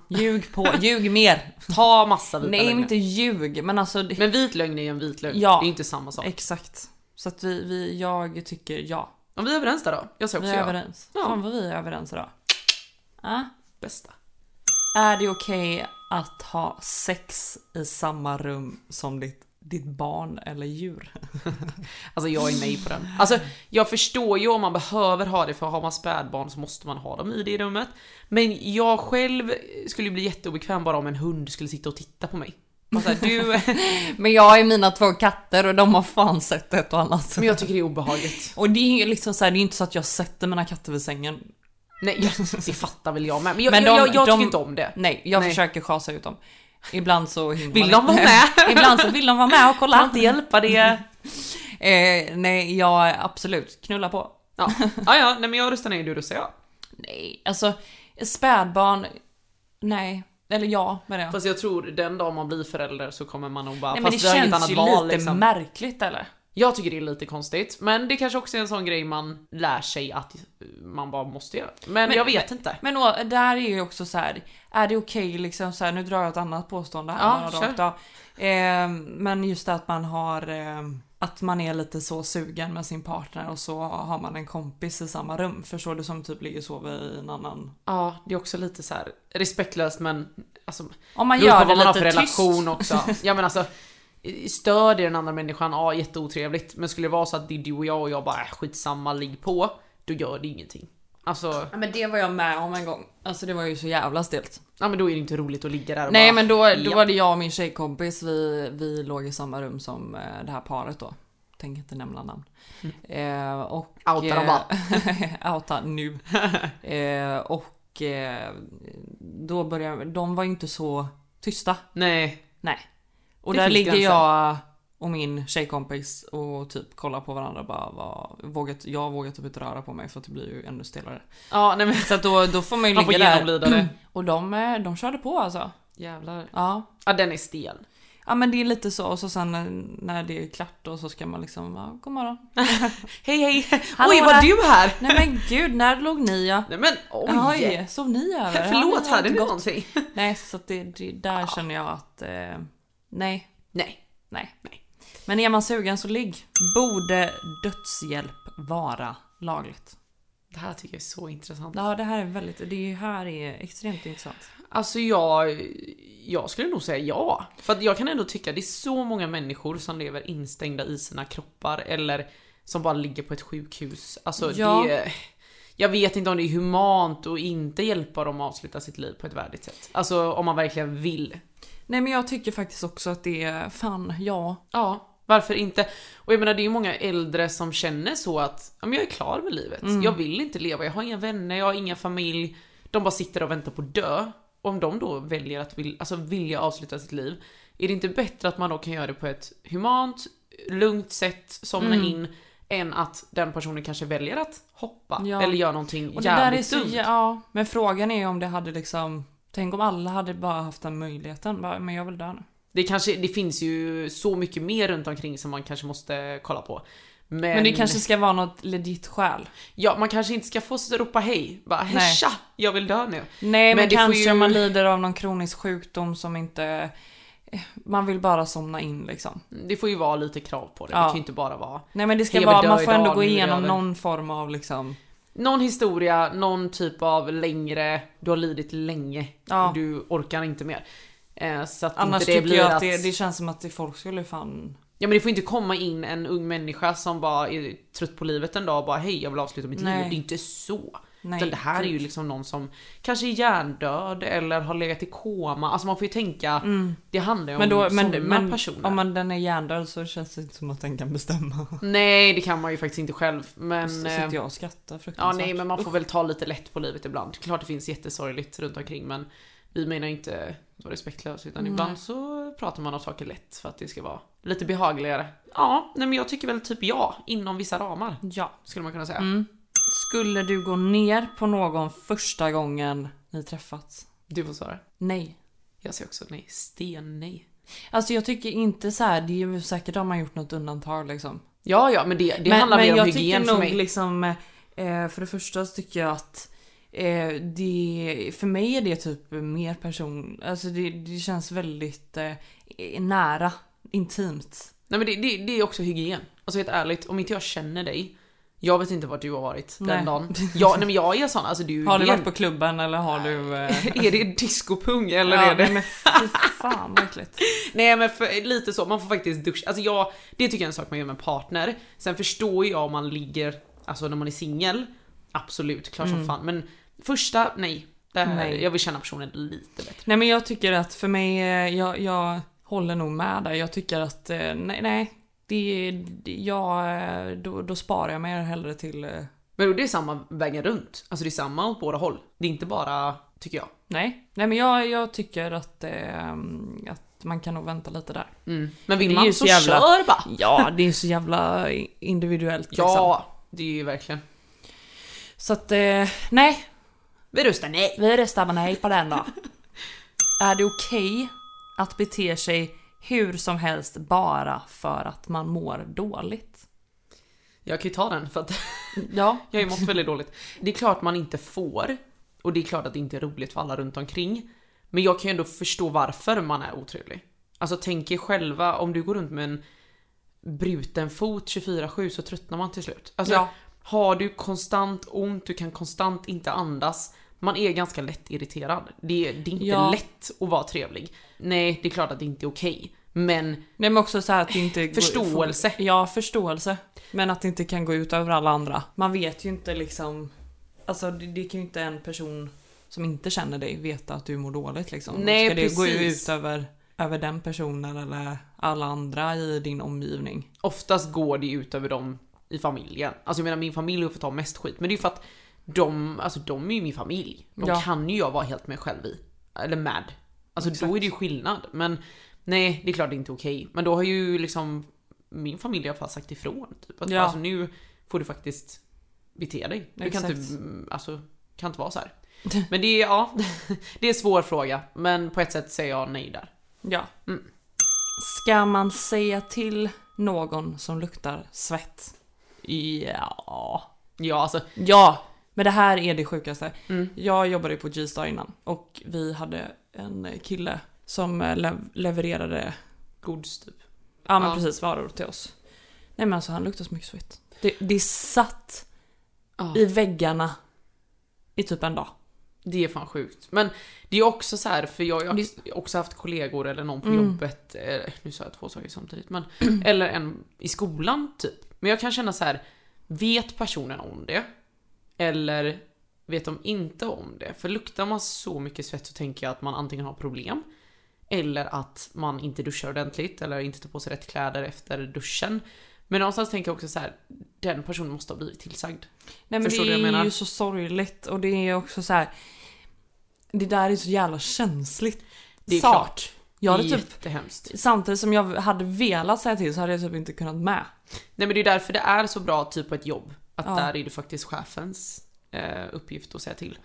[SPEAKER 4] Ljug på, ljug mer.
[SPEAKER 3] Ta massa vita
[SPEAKER 4] Nej,
[SPEAKER 3] lögner.
[SPEAKER 4] inte ljug, men alltså... det-
[SPEAKER 3] Typ Men vit lögn är ju en vit lögn.
[SPEAKER 4] Ja.
[SPEAKER 3] Det är inte samma sak.
[SPEAKER 4] Exakt. Så att vi, vi, jag tycker ja.
[SPEAKER 3] Om vi är överens där då? Jag säger
[SPEAKER 4] Vi
[SPEAKER 3] också
[SPEAKER 4] är
[SPEAKER 3] ja.
[SPEAKER 4] överens.
[SPEAKER 3] Ja.
[SPEAKER 4] Fan vad vi är överens idag. Ah.
[SPEAKER 3] Bästa.
[SPEAKER 4] Är det okej att ha sex i samma rum som ditt, ditt barn eller djur?
[SPEAKER 3] Alltså jag är nej på den. Alltså jag förstår ju om man behöver ha det för har man spädbarn så måste man ha dem i det rummet. Men jag själv skulle ju bli jätteobekväm bara om en hund skulle sitta och titta på mig. Bara så här, du...
[SPEAKER 4] Men jag har ju mina två katter och de har fan sett ett och annat.
[SPEAKER 3] Men jag tycker det är obehagligt.
[SPEAKER 4] Och det är ju liksom så här, det är inte så att jag sätter mina katter vid sängen.
[SPEAKER 3] Nej, jag- det fattar väl jag med. Men jag,
[SPEAKER 4] Men de-
[SPEAKER 3] jag, jag, jag
[SPEAKER 4] de-
[SPEAKER 3] tycker inte om det.
[SPEAKER 4] Nej, jag
[SPEAKER 3] Nej.
[SPEAKER 4] försöker schasa ut dem. Ibland så hinner
[SPEAKER 3] Vill
[SPEAKER 4] man
[SPEAKER 3] de vara
[SPEAKER 4] inte.
[SPEAKER 3] med?
[SPEAKER 4] Ibland så vill de vara med och
[SPEAKER 3] Kan
[SPEAKER 4] kolla. Mm.
[SPEAKER 3] inte hjälpa det.
[SPEAKER 4] Eh, nej, jag absolut knulla på.
[SPEAKER 3] Ja, ja, ja nej, men jag röstar nej du röstar ja.
[SPEAKER 4] Nej, alltså spädbarn. Nej, eller ja menar jag.
[SPEAKER 3] Fast jag tror den dag man blir förälder så kommer man nog bara...
[SPEAKER 4] nej, men det
[SPEAKER 3] fast vi har inget
[SPEAKER 4] känns
[SPEAKER 3] annat
[SPEAKER 4] ju
[SPEAKER 3] val,
[SPEAKER 4] lite
[SPEAKER 3] liksom.
[SPEAKER 4] märkligt eller?
[SPEAKER 3] Jag tycker det är lite konstigt, men det kanske också är en sån grej man lär sig att man bara måste göra. Men, jag vet inte.
[SPEAKER 4] Men å- där är ju också så här. är det okej liksom så här, nu drar jag ett annat påstående här
[SPEAKER 3] Ja,
[SPEAKER 4] bara rakt av. Eh, men just det att man har, eh, att man är lite så sugen med sin partner och så har man en kompis i samma rum. Förstår du som typ ligger och sover i en annan.
[SPEAKER 3] Ja, det är också lite så här respektlöst men alltså,
[SPEAKER 4] Om man
[SPEAKER 3] beror på
[SPEAKER 4] gör
[SPEAKER 3] vad man har
[SPEAKER 4] det
[SPEAKER 3] för
[SPEAKER 4] lite tyst.
[SPEAKER 3] relation också. Ja men alltså, stör det den andra människan? Ja, jätteotrevligt. Men skulle det vara så att det är du och jag och jag bara äh, skitsamma, ligg på. Då gör det ingenting. Alltså,
[SPEAKER 4] Ja, men det var jag med om en gång. Alltså det var ju så jävla stelt.
[SPEAKER 3] ja men då är det inte roligt att ligga där och
[SPEAKER 4] Nej
[SPEAKER 3] bara,
[SPEAKER 4] men då, då
[SPEAKER 3] ja.
[SPEAKER 4] var det jag och min tjejkompis, vi, vi låg i samma rum som eh, det här paret då. Tänker inte nämna namn. Eh, och,
[SPEAKER 3] Outa dem
[SPEAKER 4] bara. outa nu. Eh, och eh, då började, de var ju inte så tysta.
[SPEAKER 3] Nej.
[SPEAKER 4] Nej. Och
[SPEAKER 3] Det
[SPEAKER 4] där
[SPEAKER 3] finns
[SPEAKER 4] ligger
[SPEAKER 3] gränser.
[SPEAKER 4] jag och min tjejkompis och typ kollar på varandra bara vad, vågat, jag vågar typ inte röra på mig för att det blir ju ännu stelare.
[SPEAKER 3] Ja, nej men
[SPEAKER 4] Så att då, då får man ju
[SPEAKER 3] man får
[SPEAKER 4] ligga där.
[SPEAKER 3] genomlida det.
[SPEAKER 4] Och de, eh, de körde på alltså.
[SPEAKER 3] Jävlar.
[SPEAKER 4] Ja.
[SPEAKER 3] Ja, den är stel.
[SPEAKER 4] Ja men det är lite så och så sen eh, när det är klart då så ska man liksom, ja, god morgon.
[SPEAKER 3] Hej hej!
[SPEAKER 4] Hallå
[SPEAKER 3] Oj, var
[SPEAKER 4] där.
[SPEAKER 3] du här?
[SPEAKER 4] Nej men gud, när låg ni ja?
[SPEAKER 3] Nej men oj!
[SPEAKER 4] Oj, sov ni över? Ja,
[SPEAKER 3] Förlåt,
[SPEAKER 4] ni har
[SPEAKER 3] hade
[SPEAKER 4] inte
[SPEAKER 3] ni
[SPEAKER 4] gått.
[SPEAKER 3] någonting?
[SPEAKER 4] Nej så att det, det, där känner jag att, eh, nej,
[SPEAKER 3] Nej.
[SPEAKER 4] nej,
[SPEAKER 3] Nej.
[SPEAKER 4] Men är man sugen så ligg. Borde dödshjälp vara lagligt?
[SPEAKER 3] Det här tycker jag är så intressant.
[SPEAKER 4] Ja det här är väldigt, det är ju här är extremt intressant.
[SPEAKER 3] Alltså jag, jag skulle nog säga ja. För att jag kan ändå tycka det är så många människor som lever instängda i sina kroppar eller som bara ligger på ett sjukhus. Alltså
[SPEAKER 4] Ja.
[SPEAKER 3] det, jag vet inte om det är humant att inte hjälpa dem att avsluta sitt liv på ett värdigt sätt. Alltså om man verkligen vill.
[SPEAKER 4] Nej men jag tycker faktiskt också att det är, fan ja.
[SPEAKER 3] Ja, varför inte? Och jag menar det är ju många äldre som känner så att ja, men jag är klar med livet.
[SPEAKER 4] Mm.
[SPEAKER 3] Jag vill inte leva, jag har inga vänner, jag har ingen familj. De bara sitter och väntar på att dö. Och om de då väljer att vill, alltså vilja avsluta sitt liv, är det inte bättre att man då kan göra det på ett humant, lugnt sätt, somna
[SPEAKER 4] Mm.
[SPEAKER 3] in, än att den personen kanske väljer att hoppa
[SPEAKER 4] Ja.
[SPEAKER 3] eller göra någonting
[SPEAKER 4] Och det där är
[SPEAKER 3] jävligt
[SPEAKER 4] så,
[SPEAKER 3] dumt.
[SPEAKER 4] ja, men frågan är om det hade liksom Tänk om alla hade bara haft den möjligheten, bara, men jag vill dö nu.
[SPEAKER 3] Det, kanske, det finns ju så mycket mer runt omkring som man kanske måste kolla på. Men,
[SPEAKER 4] Men det kanske ska vara något legit skäl.
[SPEAKER 3] Ja, man kanske inte ska få ropa hej. Bara
[SPEAKER 4] Nej.
[SPEAKER 3] häscha, jag vill dö nu.
[SPEAKER 4] Nej men,
[SPEAKER 3] Men det får
[SPEAKER 4] kanske
[SPEAKER 3] ju-
[SPEAKER 4] om man lider av någon kronisk sjukdom som inte... eh, Man vill bara somna in liksom.
[SPEAKER 3] Det får ju vara lite krav på det.
[SPEAKER 4] Ja.
[SPEAKER 3] Det kan ju inte bara vara
[SPEAKER 4] Nej men det ska
[SPEAKER 3] Jag vill
[SPEAKER 4] vara,
[SPEAKER 3] dö
[SPEAKER 4] man får ändå
[SPEAKER 3] idag,
[SPEAKER 4] gå
[SPEAKER 3] nu är det
[SPEAKER 4] igenom
[SPEAKER 3] över.
[SPEAKER 4] någon form av liksom...
[SPEAKER 3] någon historia, någon typ av längre, du har lidit länge,
[SPEAKER 4] Ja.
[SPEAKER 3] och du orkar inte mer. Eh, så att
[SPEAKER 4] Annars
[SPEAKER 3] inte det
[SPEAKER 4] tycker
[SPEAKER 3] blir
[SPEAKER 4] jag att
[SPEAKER 3] att...
[SPEAKER 4] det, det känns som att det folk skulle fan...
[SPEAKER 3] Ja men det får inte komma in en ung människa som bara är trött på livet en dag och bara hej jag vill avsluta mitt
[SPEAKER 4] Nej.
[SPEAKER 3] liv. Det är inte så.
[SPEAKER 4] Nej, typ.
[SPEAKER 3] Utan det här är ju liksom någon som kanske är hjärndöd eller har legat i koma. Alltså man får ju tänka, det handlar ju
[SPEAKER 4] Mm. Men,
[SPEAKER 3] om
[SPEAKER 4] då, men,
[SPEAKER 3] sådana
[SPEAKER 4] men
[SPEAKER 3] personer.
[SPEAKER 4] om man, den är hjärndöd så känns det inte som att den kan bestämma.
[SPEAKER 3] Nej, det kan man ju faktiskt inte själv. Men, eh,
[SPEAKER 4] Så sitter jag och skrattar
[SPEAKER 3] ja,
[SPEAKER 4] fruktansvärt.
[SPEAKER 3] nej, men man får väl ta lite lätt på livet ibland. Klart det finns jättesorgligt runt omkring men vi menar inte så respektlöst utan ibland så pratar man om saker lätt för att det ska vara lite behagligare. Ja, nej, men jag tycker väl typ ja, inom vissa ramar
[SPEAKER 4] Ja.
[SPEAKER 3] skulle man kunna säga.
[SPEAKER 4] Mm. Skulle du gå ner på någon första gången ni träffats?
[SPEAKER 3] Du får svara.
[SPEAKER 4] Nej.
[SPEAKER 3] Jag säger också nej. Sten nej.
[SPEAKER 4] Alltså jag tycker inte så här, det är ju säkert har man gjort något undantag liksom.
[SPEAKER 3] Ja, ja, men det, det
[SPEAKER 4] men
[SPEAKER 3] handlar
[SPEAKER 4] men
[SPEAKER 3] mer om
[SPEAKER 4] jag
[SPEAKER 3] hygien
[SPEAKER 4] tycker
[SPEAKER 3] för
[SPEAKER 4] nog
[SPEAKER 3] mig.
[SPEAKER 4] liksom, eh, för det första så tycker jag att eh, Eh, det, för mig är det typ mer person... Alltså det, det känns väldigt eh, nära, intimt.
[SPEAKER 3] Nej men det, det, det är också hygien. Alltså helt ärligt, om inte jag känner dig, jag vet inte vart du har varit den
[SPEAKER 4] Nej.
[SPEAKER 3] dagen. Jag, nej men jag är sån, alltså du
[SPEAKER 4] Har du
[SPEAKER 3] är-
[SPEAKER 4] varit på klubben eller har du... Eh,
[SPEAKER 3] Är det discopung eller
[SPEAKER 4] ja,
[SPEAKER 3] är det?
[SPEAKER 4] nej, Men fy fan vad äckligt.
[SPEAKER 3] Nej men för, lite så, man får faktiskt duscha. Alltså jag, det tycker jag är en sak man gör med en partner. Sen förstår jag om man ligger, alltså när man är singel, absolut, klart som fan. Men första, Mm. nej. Det här,
[SPEAKER 4] Nej.
[SPEAKER 3] Jag vill känna personen lite bättre.
[SPEAKER 4] Nej men jag tycker att för mig, eh, jag, jag håller nog med där. Jag tycker att, eh, nej, nej det, det, jag, eh, då, då sparar jag mig hellre till, eh,
[SPEAKER 3] Men det är samma vägen runt. Alltså det är samma åt båda håll. Det är inte bara, tycker jag.
[SPEAKER 4] nej. Nej men jag, jag tycker att, eh, att man kan nog vänta lite där.
[SPEAKER 3] Mm. Men
[SPEAKER 4] Det
[SPEAKER 3] vill
[SPEAKER 4] är ju
[SPEAKER 3] man så
[SPEAKER 4] så jävla-
[SPEAKER 3] kör bara!
[SPEAKER 4] Ja, det är så jävla individuellt liksom.
[SPEAKER 3] Ja, det är ju verkligen.
[SPEAKER 4] Så att, eh, nej.
[SPEAKER 3] Vi röstar nej.
[SPEAKER 4] Vi röstar nej på den då. Är det okej att bete sig hur som helst bara för att man mår dåligt?
[SPEAKER 3] Jag kan ju ta den för att
[SPEAKER 4] Ja.
[SPEAKER 3] jag har ju mått väldigt dåligt. Det är klart man inte får och det är klart att det inte är roligt för alla runt omkring. Men jag kan ju ändå förstå varför man är otrevlig. Alltså tänk er själva om du går runt med en bruten fot 24-7 så tröttnar man till slut. Alltså
[SPEAKER 4] Ja.
[SPEAKER 3] har du konstant ont, du kan konstant inte andas. Man är ganska lätt irriterad. Det, det är inte
[SPEAKER 4] Ja.
[SPEAKER 3] lätt att vara trevlig. Nej, det är klart att det inte är okej. Men
[SPEAKER 4] Nej men också så här att det inte... går-
[SPEAKER 3] Förståelse.
[SPEAKER 4] får- Ja, förståelse. Men att det inte kan gå ut över alla andra. Man vet ju inte liksom... Alltså det, det kan ju inte en person som inte känner dig veta att du mår dåligt liksom.
[SPEAKER 3] Nej,
[SPEAKER 4] Ska det gå
[SPEAKER 3] precis.
[SPEAKER 4] ut över, över den personen eller alla andra i din omgivning?
[SPEAKER 3] oftast går det ut över dem i familjen. Alltså jag menar min familj får ta mest skit, men det är ju för att de, alltså de är ju min familj. De
[SPEAKER 4] Ja.
[SPEAKER 3] kan ju jag vara helt mig själv i. Eller med. Alltså då är det ju skillnad. Men nej, det är klart det är inte okej. Men då har ju liksom min familj i alla fall sagt ifrån. Typ. Att
[SPEAKER 4] Ja.
[SPEAKER 3] alltså, nu får du faktiskt bete dig. Du kan inte,
[SPEAKER 4] Exakt.
[SPEAKER 3] mm, alltså, kan inte vara så här. Men det är, ja, det är en svår fråga. Men på ett sätt säger jag nej där.
[SPEAKER 4] Ja. Ska man säga till någon som luktar svett? Ja.
[SPEAKER 3] Ja, alltså
[SPEAKER 4] Ja, men det här är det sjukaste.
[SPEAKER 3] Mm.
[SPEAKER 4] Jag jobbade ju på G-star innan och vi hade en kille som eh, lev- levererade,
[SPEAKER 3] gods typ.
[SPEAKER 4] ja men
[SPEAKER 3] Ja.
[SPEAKER 4] precis, varor till oss. Nej men alltså han luktade så mycket svett. Det, det satt
[SPEAKER 3] Ja.
[SPEAKER 4] i väggarna i typ en dag.
[SPEAKER 3] Det är fan sjukt. Men det är också så här, för jag har ju också haft kollegor eller någon på jobbet, eh, nu sa jag två saker samtidigt, men, eller en i skolan typ. Men jag kan känna så här, vet personen om det? Eller vet de inte om det? För luktar man så mycket svett så tänker jag att man antingen har problem, eller att man inte duschar ordentligt eller inte tar på sig rätt kläder efter duschen. Men någonstans tänker jag också så här, den personen måste ha blivit tillsagd.
[SPEAKER 4] Nej men
[SPEAKER 3] Förstår
[SPEAKER 4] det
[SPEAKER 3] du vad jag
[SPEAKER 4] är
[SPEAKER 3] menar?
[SPEAKER 4] ju så sorgligt och det är också så här. Det där är så jävla känsligt.
[SPEAKER 3] Det är
[SPEAKER 4] Sak.
[SPEAKER 3] klart.
[SPEAKER 4] Jag hade typ,
[SPEAKER 3] Jättehemskt.
[SPEAKER 4] samtidigt som jag hade velat säga till så hade jag typ inte kunnat med.
[SPEAKER 3] Nej men det är därför det är så bra typ på ett jobb. Att
[SPEAKER 4] Ja.
[SPEAKER 3] där är det faktiskt chefens eh, uppgift att säga till.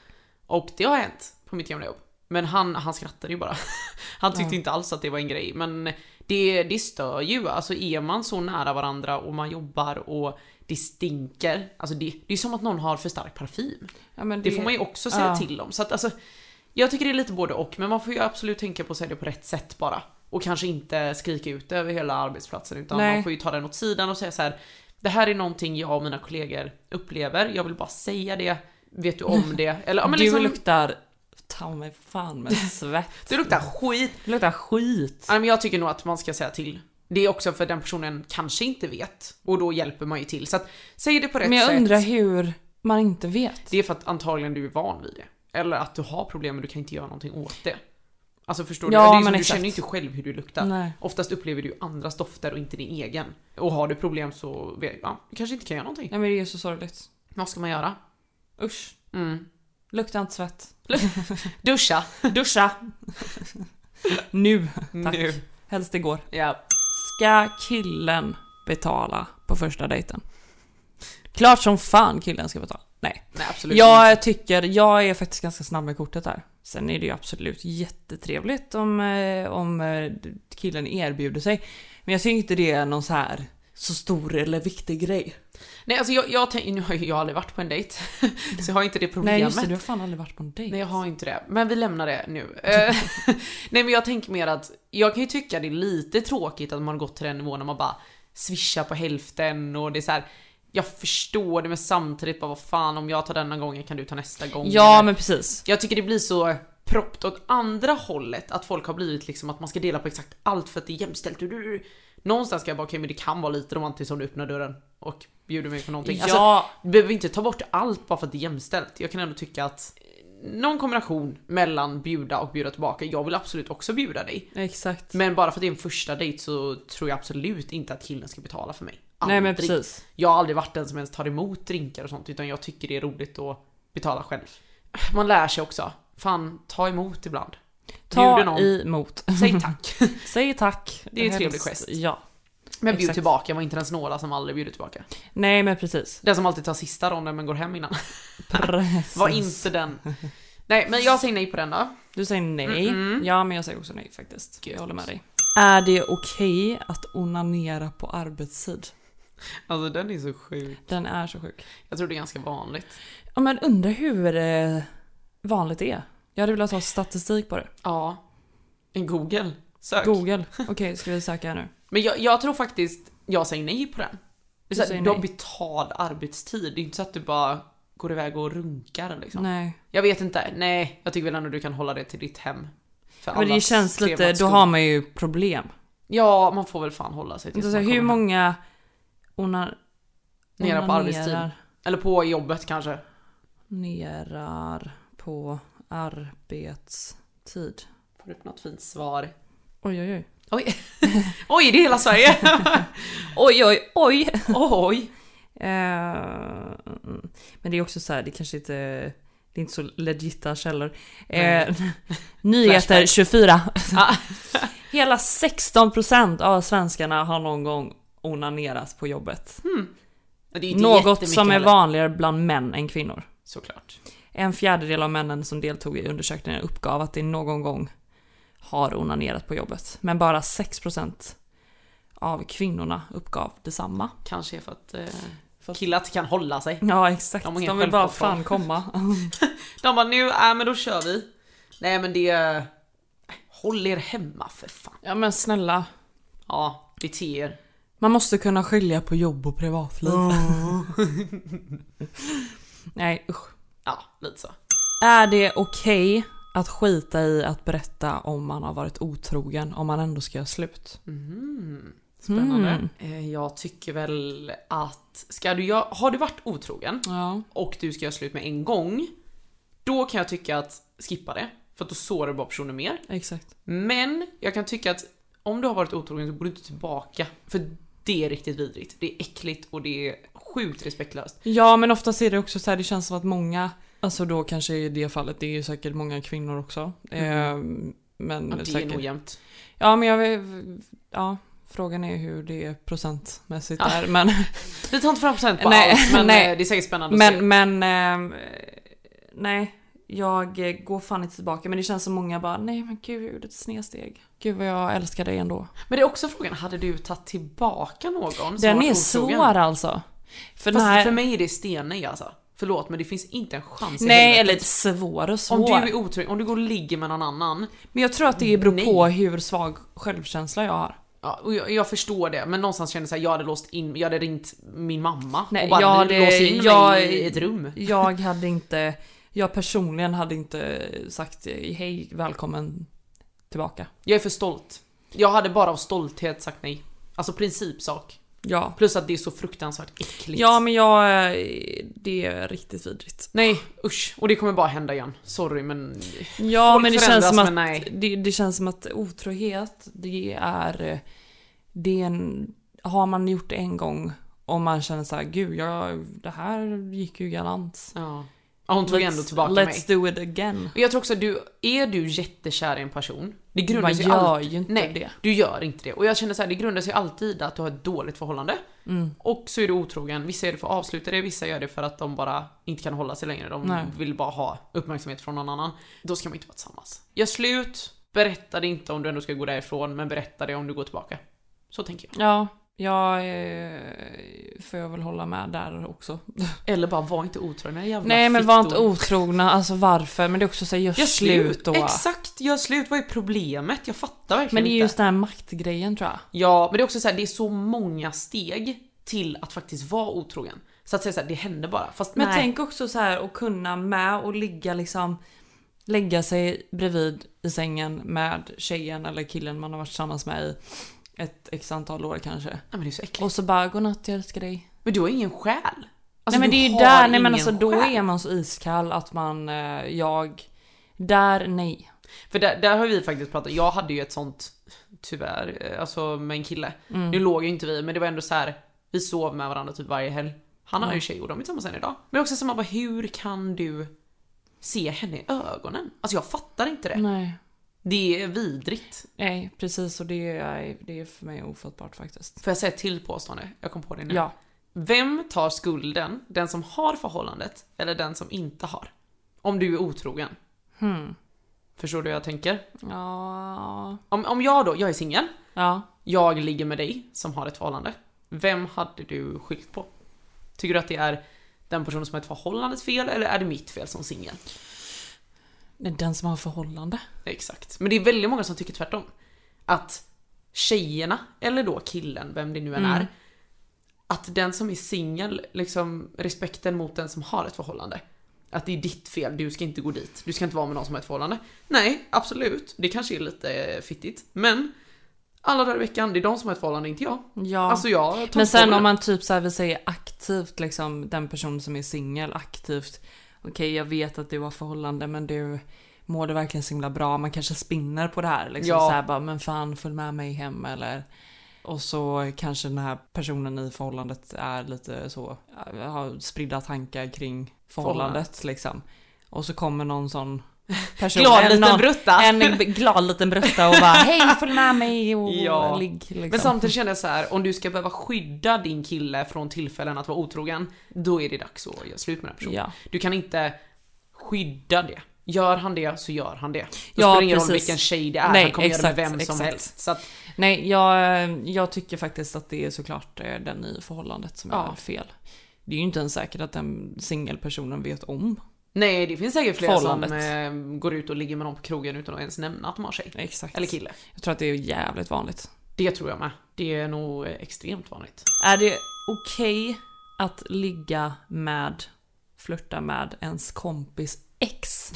[SPEAKER 3] Och det har hänt på mitt gamla jobb. Men han, han skrattade ju bara. Han tyckte
[SPEAKER 4] Ja.
[SPEAKER 3] inte alls att det var en grej. Men det, det stör ju. Alltså är man så nära varandra och man jobbar och det stinker. Alltså det, det är som att någon har för stark parfym.
[SPEAKER 4] Ja, men
[SPEAKER 3] Det får man ju också säga
[SPEAKER 4] ja.
[SPEAKER 3] till om. Så att alltså, jag tycker det är lite både och. Men man får ju absolut tänka på att säga det på rätt sätt bara. Och kanske inte skrika ut det över hela arbetsplatsen. Utan
[SPEAKER 4] Nej.
[SPEAKER 3] man får ju ta den åt sidan och säga så här. Det här är någonting jag och mina kollegor upplever. Jag vill bara säga det. Vet du om det? Eller ja, men
[SPEAKER 4] du
[SPEAKER 3] liksom,
[SPEAKER 4] luktar ta mig fan med svett.
[SPEAKER 3] du luktar skit.
[SPEAKER 4] Du luktar skit.
[SPEAKER 3] Nej, men jag tycker nog att man ska säga till. Det är också för den personen kanske inte vet. Och då hjälper man ju till. Så att, säg det på rätt
[SPEAKER 4] Men jag undrar
[SPEAKER 3] sätt.
[SPEAKER 4] hur man inte vet.
[SPEAKER 3] Det är för att antagligen du är van vid det. Eller att du har problem men du kan inte göra någonting åt det. Alltså förstår
[SPEAKER 4] Ja,
[SPEAKER 3] du? Det är ju
[SPEAKER 4] men
[SPEAKER 3] som, du
[SPEAKER 4] exakt.
[SPEAKER 3] känner ju inte själv hur du luktar.
[SPEAKER 4] Nej.
[SPEAKER 3] Oftast upplever du andras dofter och inte din egen. Och har du problem så vet- ja, du kanske inte kan göra någonting.
[SPEAKER 4] Nej men det är så sorgligt.
[SPEAKER 3] Vad ska man göra?
[SPEAKER 4] Usch.
[SPEAKER 3] Mm.
[SPEAKER 4] Lukta inte svett.
[SPEAKER 3] Duscha!
[SPEAKER 4] Duscha! nu, tack.
[SPEAKER 3] Nu.
[SPEAKER 4] Helst igår.
[SPEAKER 3] Ja.
[SPEAKER 4] Ska killen betala på första dejten? Klart som fan killen ska betala. Nej.
[SPEAKER 3] Nej absolut inte.
[SPEAKER 4] Jag tycker, jag är faktiskt ganska snabb med kortet där. Sen är det ju absolut jättetrevligt om, eh, om eh, killen erbjuder sig. Men jag tycker inte det är någon så här så stor eller viktig grej.
[SPEAKER 3] Nej alltså jag, jag tänk, nu har ju jag aldrig varit på en dejt. så jag har inte det problemet.
[SPEAKER 4] Nej just det, du har fan aldrig varit på en dejt.
[SPEAKER 3] Nej jag har inte det, men vi lämnar det nu. Eh, Nej men jag tänker mer att jag kan ju tycka det är lite tråkigt att man har gått till den nivån när man bara swishar på hälften och det är så här. Jag förstår det men samtidigt bara vad fan om jag tar denna gången kan du ta nästa gång.
[SPEAKER 4] Ja
[SPEAKER 3] Eller-
[SPEAKER 4] men precis.
[SPEAKER 3] Jag tycker det blir så proppt åt andra hållet att folk har blivit liksom att man ska dela på exakt allt för att det är jämställt. Du, du, du. Någonstans ska jag bara okej men det kan vara lite romantiskt om du öppnar dörren och bjuder mig på någonting. Alltså,
[SPEAKER 4] Ja,
[SPEAKER 3] du behöver inte ta bort allt bara för att det är jämställt. Jag kan ändå tycka att någon kombination mellan bjuda och bjuda tillbaka. Jag vill absolut också bjuda dig.
[SPEAKER 4] exakt.
[SPEAKER 3] Men bara för att det är en första dejt så tror jag absolut inte att killen ska betala för mig.
[SPEAKER 4] Nej men
[SPEAKER 3] Aldrig.
[SPEAKER 4] precis.
[SPEAKER 3] Jag har aldrig varit den som ens tar emot drinkar och sånt utan jag tycker det är roligt att betala själv. Man lär sig också. Fan, ta emot ibland. Bjuder
[SPEAKER 4] Ta
[SPEAKER 3] någon.
[SPEAKER 4] emot.
[SPEAKER 3] Säg tack.
[SPEAKER 4] Säg tack.
[SPEAKER 3] Det är en trevlig
[SPEAKER 4] Helst-
[SPEAKER 3] gest.
[SPEAKER 4] Ja.
[SPEAKER 3] Men bjud
[SPEAKER 4] Exakt.
[SPEAKER 3] tillbaka, var inte den snåla som aldrig bjuder tillbaka.
[SPEAKER 4] Nej men precis.
[SPEAKER 3] Den som alltid tar sista ronden men går hem innan.
[SPEAKER 4] precis.
[SPEAKER 3] Var inte den. Nej, men jag säger nej på den då.
[SPEAKER 4] Du säger nej. Ja men jag säger också nej faktiskt.
[SPEAKER 3] Gött.
[SPEAKER 4] Jag håller med dig. Är det okej att onanera på arbetstid?
[SPEAKER 3] Alltså den är så sjuk.
[SPEAKER 4] Den är så sjuk.
[SPEAKER 3] Jag tror det är ganska vanligt.
[SPEAKER 4] Ja men undrar hur eh, vanligt det är. Jag hade velat ha statistik på det.
[SPEAKER 3] Ja. En Google. Sök.
[SPEAKER 4] Google. Okej, ska vi söka här nu?
[SPEAKER 3] Men jag, jag tror faktiskt jag säger nej på den. Det är så här,
[SPEAKER 4] säger
[SPEAKER 3] du har
[SPEAKER 4] nej.
[SPEAKER 3] betald arbetstid, det är inte så att du bara går iväg och runkar liksom.
[SPEAKER 4] Nej.
[SPEAKER 3] Jag vet inte, nej jag tycker väl ändå du kan hålla det till ditt hem. För
[SPEAKER 4] Men det
[SPEAKER 3] allas
[SPEAKER 4] känns lite, då
[SPEAKER 3] levnadsskull.
[SPEAKER 4] har man ju problem.
[SPEAKER 3] Ja man får väl fan hålla sig till
[SPEAKER 4] Så Alltså, hur många onar,
[SPEAKER 3] Nera på arbetstid.
[SPEAKER 4] onanerar-
[SPEAKER 3] Eller på jobbet kanske.
[SPEAKER 4] Nerar på arbetstid.
[SPEAKER 3] Får du upp något fint svar?
[SPEAKER 4] Oj oj oj.
[SPEAKER 3] Oj, oj det är hela Sverige!
[SPEAKER 4] Oj oj oj!
[SPEAKER 3] oj!
[SPEAKER 4] Eh, mm. men det är också så här, det kanske inte... Det är inte så legita källor. Eh, nyheter 24.
[SPEAKER 3] Ah.
[SPEAKER 4] Hela 16% av svenskarna har någon gång onanerat på jobbet.
[SPEAKER 3] Det är ju inte
[SPEAKER 4] Något
[SPEAKER 3] jättemycket
[SPEAKER 4] som är
[SPEAKER 3] heller,
[SPEAKER 4] vanligare bland män än kvinnor.
[SPEAKER 3] Såklart.
[SPEAKER 4] En fjärdedel av männen som deltog i undersökningen uppgav att de någon gång har onanerat på jobbet. Men bara 6% av kvinnorna uppgav detsamma.
[SPEAKER 3] Kanske för att eh,
[SPEAKER 4] Fast-
[SPEAKER 3] killar inte kan hålla sig.
[SPEAKER 4] Ja exakt,
[SPEAKER 3] De har
[SPEAKER 4] de,
[SPEAKER 3] ingen
[SPEAKER 4] vill bara
[SPEAKER 3] självkontroll.
[SPEAKER 4] fan komma.
[SPEAKER 3] De bara nu, äh, men då kör vi. Nej men det... eh, Håll er hemma för fan.
[SPEAKER 4] Ja men snälla.
[SPEAKER 3] Ja, bete er.
[SPEAKER 4] Man måste kunna skilja på jobb och privatliv. Nej usch.
[SPEAKER 3] Ja, lite så.
[SPEAKER 4] Är det okej att skita i att berätta om man har varit otrogen om man ändå ska göra slut?
[SPEAKER 3] Mm.
[SPEAKER 4] Mm.
[SPEAKER 3] Spännande. Eh, Jag tycker väl att, ska du, gö- har du varit otrogen
[SPEAKER 4] Ja.
[SPEAKER 3] och du ska göra slut med en gång, då kan jag tycka att skippa det. För att då sårar du bara personen mer.
[SPEAKER 4] Exakt.
[SPEAKER 3] Men jag kan tycka att om du har varit otrogen så går du inte tillbaka. För det är riktigt vidrigt. Det är äckligt och det är sjukt respektlöst.
[SPEAKER 4] Ja men ofta ser det också så här, det känns som att många, alltså då kanske i det fallet, det är ju säkert många kvinnor också. Eh, men
[SPEAKER 3] Ja, det är
[SPEAKER 4] säkert.
[SPEAKER 3] nog jämnt.
[SPEAKER 4] Ja men jag vill- ja, frågan är hur det är procentmässigt där men
[SPEAKER 3] Vi tar inte fram procent på
[SPEAKER 4] Nej,
[SPEAKER 3] allt, men
[SPEAKER 4] nej.
[SPEAKER 3] eh, det är säkert spännande att se.
[SPEAKER 4] Men, men, ehm, nej. Jag eh, går fan inte tillbaka men det känns som många bara nej men gud jag gjorde ett snedsteg. Gud vad jag älskar dig ändå.
[SPEAKER 3] Men det är också frågan, hade du tagit tillbaka någon som
[SPEAKER 4] Den
[SPEAKER 3] varit
[SPEAKER 4] är
[SPEAKER 3] otrogen?
[SPEAKER 4] svår alltså. För,
[SPEAKER 3] Fast
[SPEAKER 4] när,
[SPEAKER 3] för mig är det stennej alltså. Förlåt men det finns inte en chans i
[SPEAKER 4] nej
[SPEAKER 3] helvete.
[SPEAKER 4] eller svår och svår.
[SPEAKER 3] Om du är otrogen, om du går och ligger med någon annan.
[SPEAKER 4] men jag tror att det beror på
[SPEAKER 3] Nej.
[SPEAKER 4] hur svag självkänsla jag har.
[SPEAKER 3] Ja, och jag, jag förstår det men någonstans känner jag såhär, jag hade låst in, jag hade ringt min mamma
[SPEAKER 4] Nej,
[SPEAKER 3] och bara
[SPEAKER 4] jag
[SPEAKER 3] jag
[SPEAKER 4] hade-
[SPEAKER 3] lås in
[SPEAKER 4] jag-
[SPEAKER 3] mig i ett rum.
[SPEAKER 4] Jag hade inte, jag personligen hade inte sagt eh, hej välkommen tillbaka.
[SPEAKER 3] Jag är för stolt. Jag hade bara av stolthet sagt nej. Alltså principsak.
[SPEAKER 4] Ja.
[SPEAKER 3] Plus att det är så fruktansvärt äckligt.
[SPEAKER 4] Ja men jag, eh, det är riktigt vidrigt.
[SPEAKER 3] Nej usch, och det kommer bara hända igen. Sorry men...
[SPEAKER 4] Ja
[SPEAKER 3] Folk
[SPEAKER 4] men det känns
[SPEAKER 3] förändras,
[SPEAKER 4] som
[SPEAKER 3] men
[SPEAKER 4] att
[SPEAKER 3] nej.
[SPEAKER 4] det, det känns som att otrohet det är det är en, har man gjort det en gång och man känner så här gud jag, det här gick ju galant.
[SPEAKER 3] Ja. Ja, Hon tog ändå tillbaka
[SPEAKER 4] let's
[SPEAKER 3] mig.
[SPEAKER 4] do it again.
[SPEAKER 3] Och jag tror också att du, är du jättekär i en person, det grundar
[SPEAKER 4] Man
[SPEAKER 3] sig
[SPEAKER 4] gör
[SPEAKER 3] alltid...
[SPEAKER 4] ju inte
[SPEAKER 3] Nej,
[SPEAKER 4] det.
[SPEAKER 3] du gör inte det. Och jag känner så här, det grundar sig alltid att du har ett dåligt förhållande.
[SPEAKER 4] Mm.
[SPEAKER 3] Och så är du otrogen, vissa gör det för att avsluta det, vissa gör det för att de bara inte kan hålla sig längre. De
[SPEAKER 4] Nej.
[SPEAKER 3] vill bara ha uppmärksamhet från någon annan. Då ska man inte vara tillsammans. Gör slut, berätta det inte om du ändå ska gå därifrån, men berätta det om du går tillbaka. Så tänker jag.
[SPEAKER 4] Ja, Jag eh, får jag väl hålla med där också.
[SPEAKER 3] Eller bara var inte otrogna jävla
[SPEAKER 4] Nej men var inte
[SPEAKER 3] fittor.
[SPEAKER 4] otrogna, alltså varför? Men det är också såhär, gör,
[SPEAKER 3] Gör
[SPEAKER 4] slut då.
[SPEAKER 3] Exakt, gör slut. Vad är problemet? Jag fattar verkligen
[SPEAKER 4] Men det är
[SPEAKER 3] inte.
[SPEAKER 4] just den här maktgrejen tror jag.
[SPEAKER 3] Ja, men det är också så här, det är så många steg till att faktiskt vara otrogen. Så att säga så här, det hände bara. Fast
[SPEAKER 4] Men
[SPEAKER 3] nej.
[SPEAKER 4] tänk också så här att kunna med och ligga liksom lägga sig bredvid i sängen med tjejen eller killen man har varit tillsammans med i ett x antal år kanske.
[SPEAKER 3] Nej, men det är så äckligt.
[SPEAKER 4] Och så bara godnatt jag älskar dig.
[SPEAKER 3] Men du har ingen själ.
[SPEAKER 4] nej
[SPEAKER 3] Alltså,
[SPEAKER 4] men
[SPEAKER 3] du
[SPEAKER 4] det är ju
[SPEAKER 3] har
[SPEAKER 4] där, nej men
[SPEAKER 3] ingen
[SPEAKER 4] alltså då
[SPEAKER 3] själ.
[SPEAKER 4] är man så iskall att man, eh, jag, där nej.
[SPEAKER 3] För där, där har vi faktiskt pratat, jag hade ju ett sånt tyvärr, eh, alltså med en kille.
[SPEAKER 4] Mm.
[SPEAKER 3] Nu låg ju inte vi, men det var ändå så här. vi sov med varandra typ varje helg. Han har
[SPEAKER 4] Mm.
[SPEAKER 3] ju tjej och de är tillsammans än idag. Men också så man bara, hur kan du se henne i ögonen? Alltså jag fattar inte det.
[SPEAKER 4] Nej.
[SPEAKER 3] Det är vidrigt.
[SPEAKER 4] Nej precis och det är, det är för mig ofattbart faktiskt.
[SPEAKER 3] Får jag säga ett till påstående? Jag kom på det nu.
[SPEAKER 4] Ja.
[SPEAKER 3] Vem tar skulden? Den som har förhållandet eller den som inte har? Om du är otrogen. Förstår du hur jag tänker?
[SPEAKER 4] Ja.
[SPEAKER 3] Om, om jag då, jag är singel,
[SPEAKER 4] Ja.
[SPEAKER 3] jag ligger med dig som har ett förhållande. Vem hade du skyllt på? Tycker du att det är den personen som har ett förhållandets fel eller är det mitt fel som singel?
[SPEAKER 4] Nej, Den som har förhållande.
[SPEAKER 3] Exakt. Men det är väldigt många som tycker tvärtom. Att tjejerna, eller då killen, vem det nu
[SPEAKER 4] Mm.
[SPEAKER 3] än är. Att den som är singel, liksom respekten mot den som har ett förhållande. Att det är ditt fel, du ska inte gå dit. Du ska inte vara med någon som har ett förhållande. Nej, absolut. Det kanske är lite fittigt. Men alla dagar i veckan, det är de som har ett förhållande, inte jag.
[SPEAKER 4] Ja.
[SPEAKER 3] Alltså jag tar
[SPEAKER 4] Men sen
[SPEAKER 3] på det.
[SPEAKER 4] om man typ så här vill säga aktivt liksom den person som är singel aktivt. Okej jag vet att du har förhållande men du mår det verkligen så himla bra. Man kanske spinner på det här liksom
[SPEAKER 3] Ja.
[SPEAKER 4] så här bara men fan följ med mig hem eller och så kanske den här personen i förhållandet är lite så äh, har spridda tankar kring förhållandet liksom. Och så kommer någon sån person.
[SPEAKER 3] Glad
[SPEAKER 4] en-
[SPEAKER 3] liten
[SPEAKER 4] någon-
[SPEAKER 3] brutta.
[SPEAKER 4] En b- glad liten brutta och bara hej följ med mig och
[SPEAKER 3] Ja.
[SPEAKER 4] ligg liksom.
[SPEAKER 3] Men samtidigt känner jag så här, om du ska behöva skydda din kille från tillfällen att vara otrogen, då är det dags att göra slut med den här personen.
[SPEAKER 4] Ja.
[SPEAKER 3] Du kan inte skydda det. Gör han det så gör han det. Då
[SPEAKER 4] Ja,
[SPEAKER 3] spelar det ingen roll
[SPEAKER 4] precis.
[SPEAKER 3] vilken tjej det är,
[SPEAKER 4] Nej,
[SPEAKER 3] han kommer göra det med
[SPEAKER 4] exakt,
[SPEAKER 3] vem som
[SPEAKER 4] exakt.
[SPEAKER 3] helst. Så att,
[SPEAKER 4] Nej, jag, jag tycker faktiskt att det är såklart eh, den i förhållandet som
[SPEAKER 3] Ja.
[SPEAKER 4] är fel. Det är ju inte ens säkert att den singelpersonen vet om.
[SPEAKER 3] nej, det finns säkert flera som
[SPEAKER 4] Förhållandet.
[SPEAKER 3] eh, går ut och ligger med någon på krogen utan att ens nämna att de har tjej.
[SPEAKER 4] Exakt.
[SPEAKER 3] Eller kille.
[SPEAKER 4] Jag tror att det är jävligt vanligt.
[SPEAKER 3] Det tror jag med. Det är nog eh, extremt vanligt.
[SPEAKER 4] Är det okej att ligga med, flirta med ens kompis ex?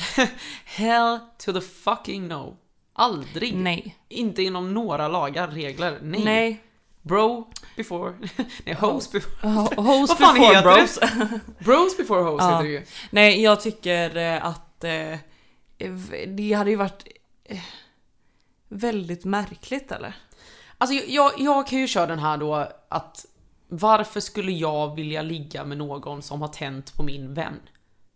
[SPEAKER 3] Hell to the fucking no. Aldrig.
[SPEAKER 4] Nej.
[SPEAKER 3] Inte inom några lagar, regler. Nej.
[SPEAKER 4] Nej.
[SPEAKER 3] Bro before... Nej, host before...
[SPEAKER 4] Ho- Hoes
[SPEAKER 3] Vad fan
[SPEAKER 4] before
[SPEAKER 3] heter det?
[SPEAKER 4] bros.
[SPEAKER 3] Bros before host
[SPEAKER 4] Ja.
[SPEAKER 3] heter det ju.
[SPEAKER 4] Nej, jag tycker eh, att eh, v- det hade ju varit eh, väldigt märkligt eller?
[SPEAKER 3] Alltså jag, jag, jag kan ju köra den här då att varför skulle jag vilja ligga med någon som har tänt på min vän?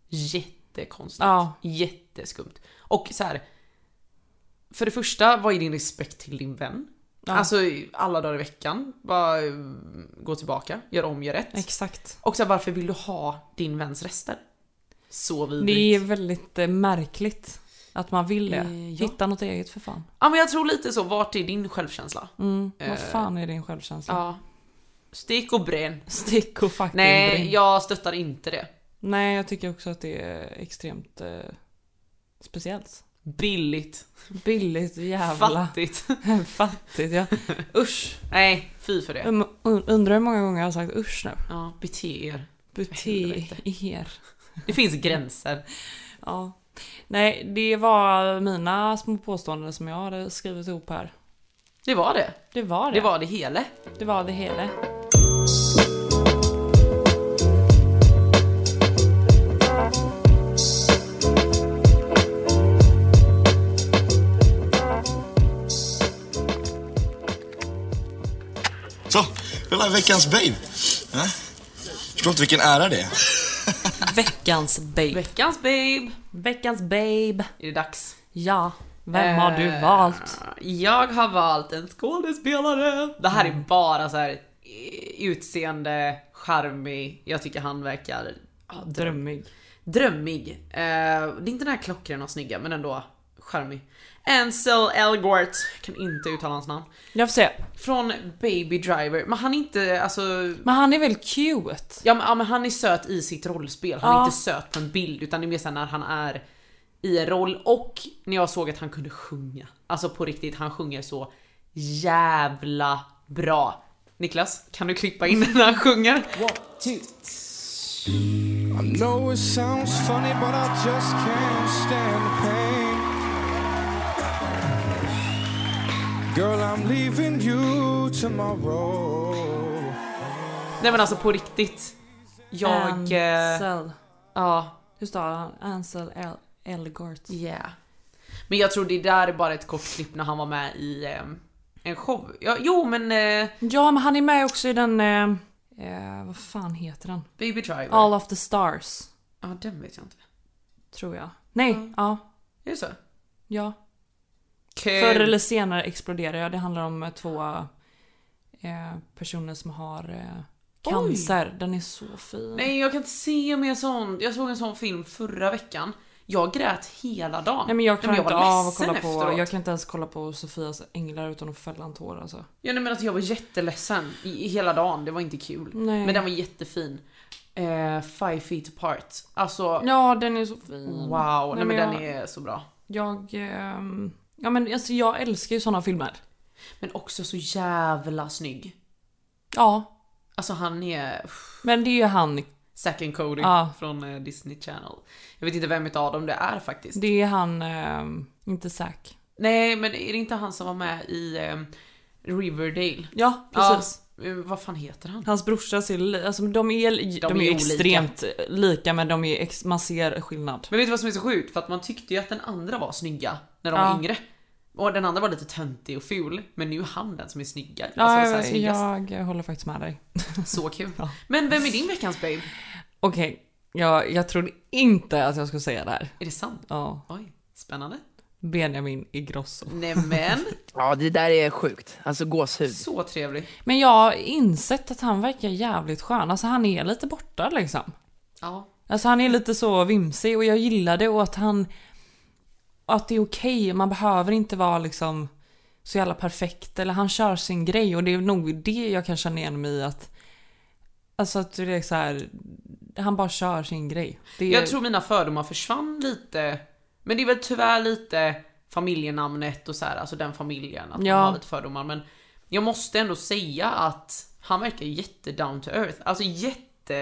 [SPEAKER 3] Jättekonstigt.
[SPEAKER 4] Ja.
[SPEAKER 3] Jätteskumt. Och så här. För det första, vad är din respekt till din vän? Alltså alla dagar i veckan, bara eh, gå tillbaka, gör om, gör rätt.
[SPEAKER 4] Exakt.
[SPEAKER 3] Och så här, varför vill du ha din väns rester? Så vidrigt.
[SPEAKER 4] Det är väldigt eh, märkligt att man vill det.
[SPEAKER 3] Eh, ja.
[SPEAKER 4] Hitta något eget för fan. Mm.
[SPEAKER 3] Ja men jag tror lite så, vart är din självkänsla?
[SPEAKER 4] Vad fan är din självkänsla?
[SPEAKER 3] Eh, Ja. Stick och bränn.
[SPEAKER 4] Stick och fucking
[SPEAKER 3] Nej,
[SPEAKER 4] brinn.
[SPEAKER 3] jag stöttar inte det.
[SPEAKER 4] Nej, jag tycker också att det är extremt eh, speciellt.
[SPEAKER 3] Billigt,
[SPEAKER 4] Billigt jävla.
[SPEAKER 3] fattigt.
[SPEAKER 4] Fattigt ja. Usch.
[SPEAKER 3] Nej, fy för det.
[SPEAKER 4] Um, un- undrar hur många gånger jag har sagt usch nu.
[SPEAKER 3] Ja, bete er.
[SPEAKER 4] Bete
[SPEAKER 3] Helvete.
[SPEAKER 4] er.
[SPEAKER 3] Det finns gränser.
[SPEAKER 4] Ja. Nej, det var mina små påståenden som jag hade skrivit ihop här.
[SPEAKER 3] Det var det.
[SPEAKER 4] Det var det.
[SPEAKER 3] Det var det hela.
[SPEAKER 4] det, var det hela.
[SPEAKER 6] Så, kolla veckans babe. Ja. Förstår inte vilken ära det är.
[SPEAKER 4] Veckans babe.
[SPEAKER 3] Veckans babe.
[SPEAKER 4] Veckans babe.
[SPEAKER 3] Är det dags?
[SPEAKER 4] Ja, vem har du
[SPEAKER 3] Eh,
[SPEAKER 4] valt?
[SPEAKER 3] Jag har valt en skådespelare. Det här
[SPEAKER 4] Mm.
[SPEAKER 3] är bara så här eh, utseende, charmig. Jag tycker han verkar
[SPEAKER 4] Drömmig.
[SPEAKER 3] drömmig. Eh, det är inte den här klockrena och snygga men ändå charmig. Ansel Elgort, kan inte uttala hans namn.
[SPEAKER 4] Jag får se.
[SPEAKER 3] Från Baby Driver, men han är inte, alltså...
[SPEAKER 4] Men han är väl cute?
[SPEAKER 3] Ja men, ja, men han är söt i sitt rollspel, han är
[SPEAKER 4] Ja.
[SPEAKER 3] inte söt på en bild utan det är mer såhär när han är i en roll och när jag såg att han kunde sjunga. Alltså på riktigt, han sjunger så jävla bra. Niklas, kan du klippa in när han sjunger?
[SPEAKER 1] I know it sounds funny, but I just can't stand the pain. Girl, I'm leaving you tomorrow.
[SPEAKER 3] Nej men alltså på riktigt. Jag... Eh,
[SPEAKER 4] Ansel.
[SPEAKER 3] ja.
[SPEAKER 4] Hur stavar han? Ansel El- Elgort.
[SPEAKER 3] Yeah. Men jag tror det där är bara ett kort klipp när han var med i eh, en show. Ja, jo men eh,
[SPEAKER 4] Ja, men han är med också i den... Eh, eh, vad fan heter den?
[SPEAKER 3] Baby Driver. Ja
[SPEAKER 4] All of the stars,
[SPEAKER 3] den vet jag inte.
[SPEAKER 4] tror jag. Nej, ja.
[SPEAKER 3] Är det så?
[SPEAKER 4] Ja.
[SPEAKER 3] Kul.
[SPEAKER 4] Förr eller senare exploderar jag. Det handlar om eh, två eh, personer som har eh, cancer. Den är så fin.
[SPEAKER 3] Nej jag kan inte se mer sånt. Jag såg en sån film förra veckan. Jag grät hela dagen.
[SPEAKER 4] Nej men jag klarar inte
[SPEAKER 3] var
[SPEAKER 4] av att
[SPEAKER 3] ledsen
[SPEAKER 4] kolla på,
[SPEAKER 3] efteråt.
[SPEAKER 4] jag kan inte ens kolla på Sofias änglar utan att fälla en tår alltså.
[SPEAKER 3] Ja, nej, men alltså, jag var jätteledsen i, i hela dagen, det var inte kul.
[SPEAKER 4] Nej.
[SPEAKER 3] Men den var jättefin. Eh, five feet apart. Alltså
[SPEAKER 4] Ja den är så fin.
[SPEAKER 3] wow, nej, men
[SPEAKER 4] jag,
[SPEAKER 3] den är så bra.
[SPEAKER 4] Jag, ehm, ja men alltså, jag älskar ju såna filmer.
[SPEAKER 3] Men också så jävla snygg.
[SPEAKER 4] Ja,
[SPEAKER 3] Alltså han är
[SPEAKER 4] men det är ju han,
[SPEAKER 3] Zack and Cody
[SPEAKER 4] Ja.
[SPEAKER 3] från eh, Disney Channel. Jag vet inte vem utav dem det är faktiskt.
[SPEAKER 4] det är han, ehm, inte Zack.
[SPEAKER 3] Nej men är det inte han som var med i eh, Riverdale?
[SPEAKER 4] Ja, precis.
[SPEAKER 3] Ja, eh, vad fan heter han?
[SPEAKER 4] Hans brorsa ser, li- alltså de är, de de är,
[SPEAKER 3] är
[SPEAKER 4] ju
[SPEAKER 3] olika.
[SPEAKER 4] extremt lika men de är, ex, man ser skillnad.
[SPEAKER 3] Men vet du vad som är så sjukt? För att man tyckte ju att den andra var snygga när de
[SPEAKER 4] Ja.
[SPEAKER 3] var yngre. Och den andra var lite töntig och ful. Men nu är han den som är snygga.
[SPEAKER 4] Ja,
[SPEAKER 3] Alltså, så här, snyggast.
[SPEAKER 4] jag, jag håller faktiskt med dig.
[SPEAKER 3] Så kul. Men vem är din veckans babe?
[SPEAKER 4] Okej, jag, jag trodde inte att jag skulle säga det här.
[SPEAKER 3] Är det sant?
[SPEAKER 4] Ja,
[SPEAKER 3] Oj, spännande.
[SPEAKER 4] Benjamin Ingrosso.
[SPEAKER 3] Nämen,
[SPEAKER 5] Ja, det där är sjukt. Alltså gåshud.
[SPEAKER 3] så trevlig.
[SPEAKER 4] Men jag har insett att han verkar jävligt skön. Alltså han är lite borta liksom.
[SPEAKER 3] Ja.
[SPEAKER 4] Alltså han är lite så vimsig och jag gillar det och att han... Att det är okej, man behöver inte vara liksom så jävla perfekt. Eller han kör sin grej och det är nog det jag kan känna igen mig i att... Alltså att det är så här... Han bara kör sin grej. Det är,
[SPEAKER 3] Jag tror mina fördomar försvann lite. Men det är väl tyvärr lite familjenamnet och så här, alltså den familjen. Att
[SPEAKER 4] Ja.
[SPEAKER 3] man har lite fördomar. Men jag måste ändå säga att han verkar jätte down to earth. Alltså jätte...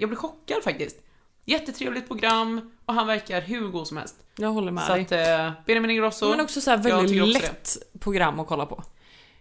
[SPEAKER 3] Jag blir chockad faktiskt. Jättetrevligt program och han verkar hur god som helst.
[SPEAKER 4] jag håller med
[SPEAKER 3] Så
[SPEAKER 4] dig.
[SPEAKER 3] att eh, Benjamin Ingrosso.
[SPEAKER 4] Men också så här
[SPEAKER 3] jag
[SPEAKER 4] väldigt
[SPEAKER 3] tycker också
[SPEAKER 4] lätt program att kolla på.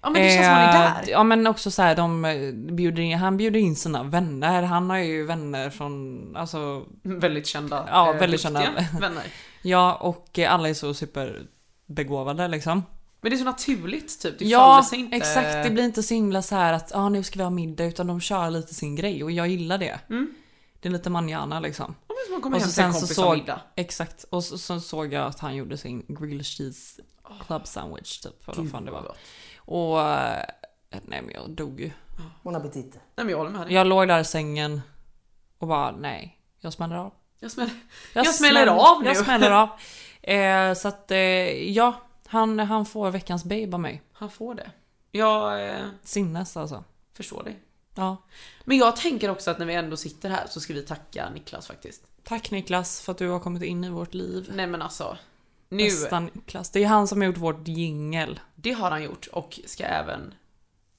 [SPEAKER 3] Ja men det känns som han är
[SPEAKER 4] Eh,
[SPEAKER 3] där.
[SPEAKER 4] Ja men också så här, de eh, bjuder in, han bjuder in sina vänner. Han har ju vänner från, alltså
[SPEAKER 3] Väldigt kända.
[SPEAKER 4] Ja,
[SPEAKER 3] eh,
[SPEAKER 4] väldigt kända.
[SPEAKER 3] duktiga vänner.
[SPEAKER 4] ja och eh, alla är så superbegåvade liksom.
[SPEAKER 3] Men det är så naturligt typ. Det faller
[SPEAKER 4] ja
[SPEAKER 3] sig inte...
[SPEAKER 4] exakt, det blir inte så himla så här att ah, nu ska vi ha middag utan de kör lite sin grej och jag gillar det.
[SPEAKER 3] Mm.
[SPEAKER 4] Det är lite manjana liksom.
[SPEAKER 3] Ja, men som att komma
[SPEAKER 4] Och
[SPEAKER 3] hem
[SPEAKER 4] så
[SPEAKER 3] till en
[SPEAKER 4] sen så
[SPEAKER 3] kompis
[SPEAKER 4] såg,
[SPEAKER 3] av middag.
[SPEAKER 4] exakt, och så, så såg jag att han gjorde sin grilled cheese club sandwich typ. Eller vad fan det
[SPEAKER 3] vad
[SPEAKER 4] var.
[SPEAKER 3] gott.
[SPEAKER 4] Och eh, nej men jag dog ju.
[SPEAKER 3] Nej men jag håller med dig.
[SPEAKER 4] Jag låg där i sängen och bara nej, jag smäller av.
[SPEAKER 3] Jag smäller, jag smäller av nu.
[SPEAKER 4] Jag smäller av. Eh, så att eh, ja, han, han får veckans babe av mig.
[SPEAKER 3] Han får det. Jag eh,
[SPEAKER 4] Sinnes alltså.
[SPEAKER 3] förstår dig.
[SPEAKER 4] Ja.
[SPEAKER 3] Men jag tänker också att när vi ändå sitter här så ska vi tacka Niklas faktiskt.
[SPEAKER 4] Tack Niklas för att du har kommit in i vårt liv.
[SPEAKER 3] Nej men alltså. Nu,
[SPEAKER 4] Bästa Niklas. Det är han som har gjort vårt jingel.
[SPEAKER 3] det har han gjort och ska även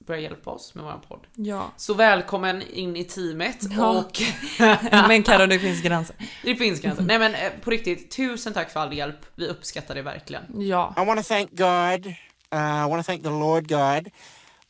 [SPEAKER 3] börja hjälpa oss med våran podd.
[SPEAKER 4] Ja.
[SPEAKER 3] Så välkommen in i teamet
[SPEAKER 4] Ja.
[SPEAKER 3] och
[SPEAKER 4] Men Carro, det finns gränser.
[SPEAKER 3] det finns gränser. Nej men eh, på riktigt, tusen tack för all hjälp. Vi uppskattar det verkligen.
[SPEAKER 4] Ja.
[SPEAKER 7] I want to thank God. Uh, I want to thank the Lord God.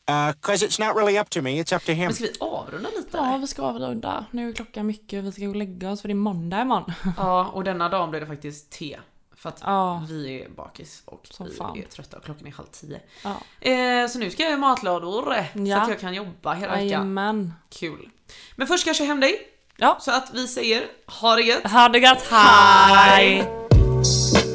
[SPEAKER 7] Because it's not really up to me, it's up to Him.
[SPEAKER 3] Men ska vi avrunda lite?
[SPEAKER 4] Ja,
[SPEAKER 3] eller?
[SPEAKER 4] vi ska avrunda. Nu är klockan mycket. Vi ska gå och lägga oss för det är måndag imorgon.
[SPEAKER 3] Ja, och denna dagen blev det faktiskt te. För att
[SPEAKER 4] Ja.
[SPEAKER 3] vi är bakis och
[SPEAKER 4] Som
[SPEAKER 3] vi
[SPEAKER 4] fan.
[SPEAKER 3] är trötta och klockan är halv tio.
[SPEAKER 4] Ja.
[SPEAKER 3] Eh, så nu ska jag göra matlådor eh, så
[SPEAKER 4] Ja.
[SPEAKER 3] att jag kan jobba hela veckan.
[SPEAKER 4] Jajamän.
[SPEAKER 3] Kul. Men först ska jag köra hem dig.
[SPEAKER 4] Ja.
[SPEAKER 3] Så att vi säger ha det gött.
[SPEAKER 4] Ha det gött. Hej!
[SPEAKER 3] Hej.